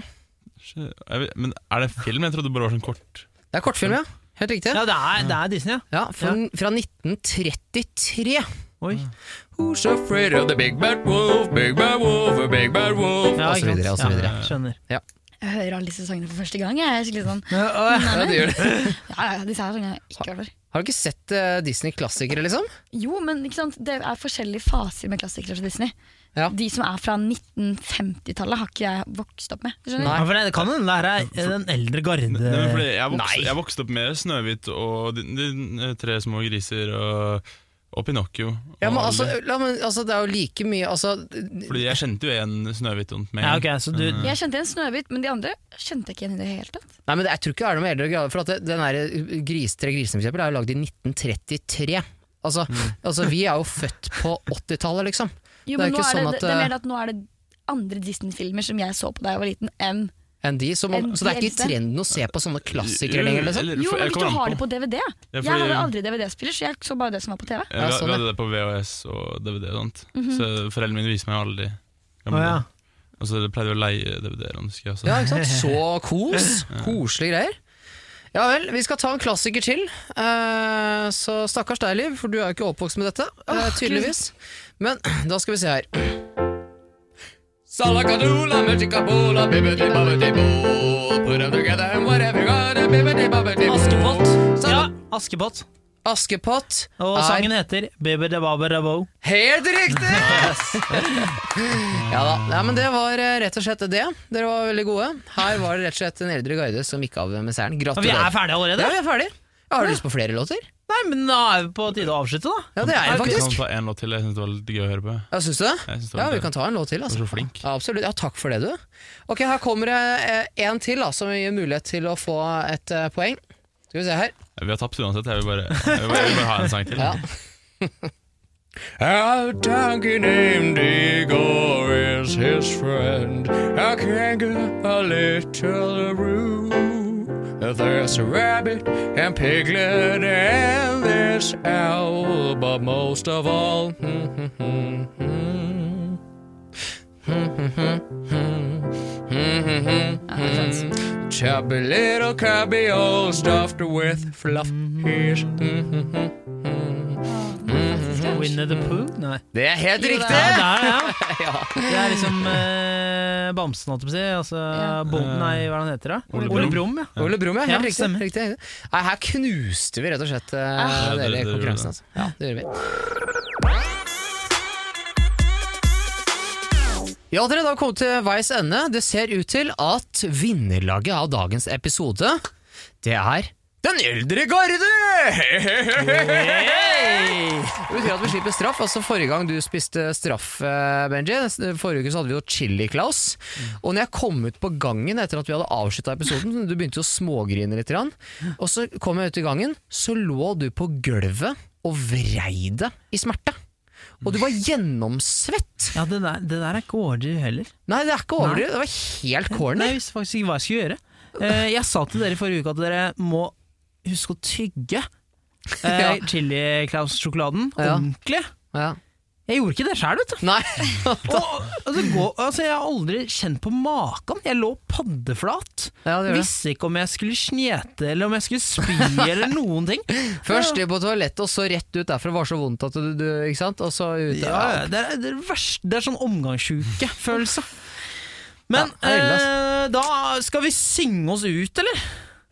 Speaker 7: jeg. Jeg, men er det en film? Jeg trodde det bare var sånn kort.
Speaker 6: Det er kortfilm, ja. Helt riktig.
Speaker 5: Ja, det er, det er Disney, ja.
Speaker 6: Ja, fra, fra 1933.
Speaker 5: Oi.
Speaker 6: Who's afraid of the big bad wolf, big bad wolf, a big bad wolf?
Speaker 5: Ja,
Speaker 6: og så
Speaker 5: ikke sant?
Speaker 6: videre, og så videre.
Speaker 5: Ja, skjønner.
Speaker 8: Jeg hører alle disse sangene for første gang. Jeg er skikkelig sånn
Speaker 6: Ja, det gjør det.
Speaker 8: Ja, ja, disse her sangene har jeg ikke hørt før.
Speaker 6: Har du ikke sett eh, Disney-klassikere, liksom?
Speaker 8: Jo, men ikke sant? det er forskjellige faser med klassikere fra Disney.
Speaker 6: Ja.
Speaker 8: De som er fra 1950-tallet, har ikke jeg vokst opp med. Skjønner du?
Speaker 5: Ja, for det, det kan hende det her er eh, den eldre garde...
Speaker 7: Nei, men fordi jeg, vokste,
Speaker 6: Nei.
Speaker 7: jeg vokste opp med Snøhvit og de, de, tre små griser og, og Pinocchio. Og
Speaker 6: Ja, men altså,
Speaker 7: alle.
Speaker 6: la, men, altså, det er jo like mye altså,
Speaker 7: Fordi jeg kjente jo igjen Snøhvit og med
Speaker 5: Ja,
Speaker 7: en
Speaker 5: ok,
Speaker 7: gang.
Speaker 5: så du...
Speaker 6: Mm.
Speaker 8: Jeg kjente igjen Snøhvit, men de andre kjente jeg ikke igjen i det hele tatt.
Speaker 6: Nei, men det, Jeg tror ikke det er noe med eldre grader. For at det, den der eh, gris, Tre grisene for eksempel, er jo lagd i 1933. Altså,
Speaker 8: Mm.
Speaker 6: altså, vi er jo født på 80-tallet, liksom.
Speaker 8: Jo,
Speaker 6: Det er
Speaker 8: men nå
Speaker 6: ikke
Speaker 8: er
Speaker 6: sånn
Speaker 8: det,
Speaker 6: at,
Speaker 8: det er
Speaker 6: eh,
Speaker 8: mer at nå er det andre Disney-filmer som jeg så på da jeg var liten, enn
Speaker 6: Enn de, så, man,
Speaker 8: Enn
Speaker 6: så det er ikke
Speaker 8: de
Speaker 6: i
Speaker 8: eldste.
Speaker 6: trenden å se på sånne
Speaker 7: Eh,
Speaker 6: klassikere lenger. liksom.
Speaker 7: Eller-
Speaker 8: Jo,
Speaker 7: for-
Speaker 8: men
Speaker 7: jeg
Speaker 8: hvis
Speaker 7: kommer
Speaker 8: du
Speaker 7: an
Speaker 8: har det på DVD. Jeg
Speaker 7: fordi-
Speaker 8: hadde aldri DVD-spiller, så jeg så bare det som var på TV.
Speaker 7: Ja,
Speaker 6: Ja, sånn,
Speaker 7: vi, vi
Speaker 6: ja. Mhm.
Speaker 7: hadde det på VHS og DVD og sånt. Så foreldrene mine viser meg alle de
Speaker 5: Å,
Speaker 7: gamle.
Speaker 5: ja.
Speaker 7: Og så pleide vi å leie DVD-er. om du husker, altså.
Speaker 6: Ja, ikke sant? Så kos. Koselige greier. Ja vel, vi skal ta en klassiker til. Eh, så stakkars deg, Liv, for du er jo ikke oppvokst med dette. eh, tydeligvis. Men da skal vi se her. Salakadula, mutikabola, bibbidi-babbidi-bo. Put 'em together and whatever you got, and bibbidi-babbidi-bo.
Speaker 5: Askepott.
Speaker 6: Sal-
Speaker 5: Ja, Askepott.
Speaker 6: Askepott
Speaker 5: Og
Speaker 6: er
Speaker 5: sangen heter Baby da Baba da Bo.
Speaker 6: helt riktig! ja da. Nei, men det var eh, rett og slett det. Dere var veldig gode. Her var det rett og slett en eldre guide som gikk av med seieren.
Speaker 5: Og Vi er
Speaker 6: Gratulerer.
Speaker 5: ferdige allerede?
Speaker 6: Ja, vi er ferdig. Ja, har du lyst på flere låter?
Speaker 5: Nei, men da er vi på tide å avslutte, da.
Speaker 6: Ja, det er jeg
Speaker 7: Vi kan
Speaker 6: faktisk.
Speaker 7: ta en låt til. Jeg synes det var litt gøy å høre på.
Speaker 6: Ja, syns du det?
Speaker 7: Jeg synes det var
Speaker 6: Ja,
Speaker 7: litt
Speaker 6: vi
Speaker 7: gøy.
Speaker 6: kan ta en låt til.
Speaker 7: Du
Speaker 6: Altså.
Speaker 7: var så flink.
Speaker 6: Ja, absolutt. Ja, takk for det, du. Ok, Her kommer det eh, en til da, som gir mulighet til å få et eh, poeng. Skal vi se her.
Speaker 7: Vi har tapt uansett. Jeg vil bare, jeg vil bare, jeg vil bare ha en sang til.
Speaker 6: Ja. There's a rabbit and piglet and this owl, but most of all Chubby little cubby all stuffed with fluff.
Speaker 5: Winnie the Pooh? Nei.
Speaker 6: Det er helt
Speaker 8: Jo,
Speaker 5: Ja,
Speaker 8: det
Speaker 6: riktig!
Speaker 5: det er det, ja. Det er liksom eh, Bamsen, holdt jeg på å si. Altså
Speaker 8: Ja.
Speaker 5: Bonden, nei, hva er det han heter da?
Speaker 7: Ole
Speaker 5: Ole
Speaker 7: Brumm.
Speaker 5: Brumm, ja.
Speaker 6: Ole Brumm, ja.
Speaker 5: Ja,
Speaker 6: Helt riktig.
Speaker 5: stemmer.
Speaker 6: riktig. Nei, her knuste vi rett og slett eh, dere
Speaker 7: det-
Speaker 6: i
Speaker 7: det gjorde
Speaker 6: konkurransen.
Speaker 7: det.
Speaker 6: Altså. Ja, det gjorde vi. Ja, dere da kommet til veis ende. Det ser ut til at vinnerlaget av dagens episode, det er den eldre garde! Det betyr at vi slipper straff. Altså Forrige gang du spiste straff, eh, Benji, forrige uke så hadde vi jo chili-klaus. Og når jeg kom ut på gangen etter at vi hadde avslutta episoden, du begynte å smågrine litt, grann, og så kom jeg ut i gangen, så lå du på gulvet og vrei deg i smerte. Og du var gjennomsvett!
Speaker 5: Ja, det der, det der er ikke ordentlig heller.
Speaker 6: Nei, det er ikke overdrevet. Det var helt
Speaker 5: Nei,
Speaker 6: corny.
Speaker 5: jeg visste faktisk ikke hva jeg skulle gjøre. Eh, jeg sa til dere i forrige uke at dere må huske å tygge eh,
Speaker 6: Ja.
Speaker 5: Chili Claus-sjokoladen
Speaker 6: Ja.
Speaker 5: ordentlig.
Speaker 6: Ja.
Speaker 5: Jeg gjorde ikke det sjøl, vet du.
Speaker 6: Nei.
Speaker 5: Og det går, altså jeg har aldri kjent på maken. Jeg lå paddeflat.
Speaker 6: Ja, det gjør det.
Speaker 5: Visste ikke om jeg skulle snjete eller om jeg skulle spy eller noen ting.
Speaker 6: Først på toalettet, og så rett ut derfra. Det var så vondt at du, du Ikke sant? Og så ut
Speaker 5: Ja, ja, det, er, det, er verst, det er sånn omgangssjukefølelse. Men
Speaker 6: Ja, det er ille,
Speaker 5: eh, da skal vi synge oss ut, eller?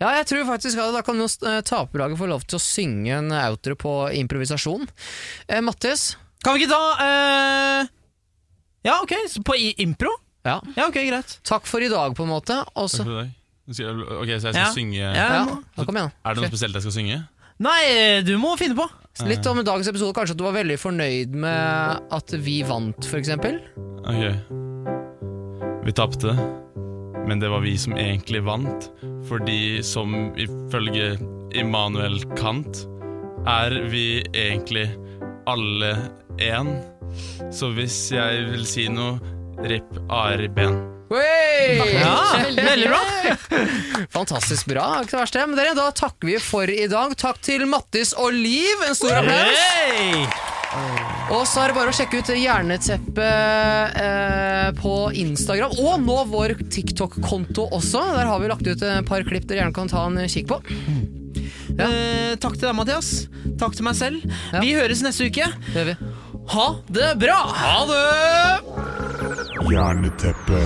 Speaker 6: Ja, jeg tror faktisk at da kan jo eh, taperlaget få lov til å synge en outro på improvisasjon. Eh, Mattis?
Speaker 5: Kan vi ikke ta eh, Ja, ok, så på i impro?
Speaker 6: Ja.
Speaker 5: Ja, ok, greit.
Speaker 6: Takk for i dag, på en måte. Og så
Speaker 7: Takk for i dag. Nå skal jeg- Ok, så jeg skal
Speaker 5: Ja.
Speaker 7: synge
Speaker 6: ja,
Speaker 5: Ja.
Speaker 6: da kom igjen.
Speaker 7: Er det noe spesielt jeg skal synge?
Speaker 5: Nei, du må finne på.
Speaker 6: Litt om dagens episode. Kanskje at du var veldig fornøyd med at vi vant, f.eks.
Speaker 7: Ok Vi tapte Men det var vi som egentlig vant Fordi som ifølge Immanuel Kant Er vi egentlig alle en Så hvis jeg vil si noe Ripp ari ben
Speaker 6: Hey!
Speaker 5: Ja, Veldig bra.
Speaker 6: Fantastisk bra. Det er Ikke det verste. Men dere, da takker vi for i dag. Takk til Mattis og Liv. En stor applaus.
Speaker 5: Hey!
Speaker 6: Og så er det bare å sjekke ut Hjerneteppet eh, på Instagram, og nå vår TikTok-konto også. Der har vi lagt ut et par klipp dere gjerne kan ta en kikk på. Ja.
Speaker 5: Eh, takk til deg, Mathias. Takk til meg selv.
Speaker 6: Ja.
Speaker 5: Vi høres neste uke.
Speaker 6: Det gjør vi.
Speaker 5: Ha det bra! Ha det!
Speaker 2: Hjerneteppe.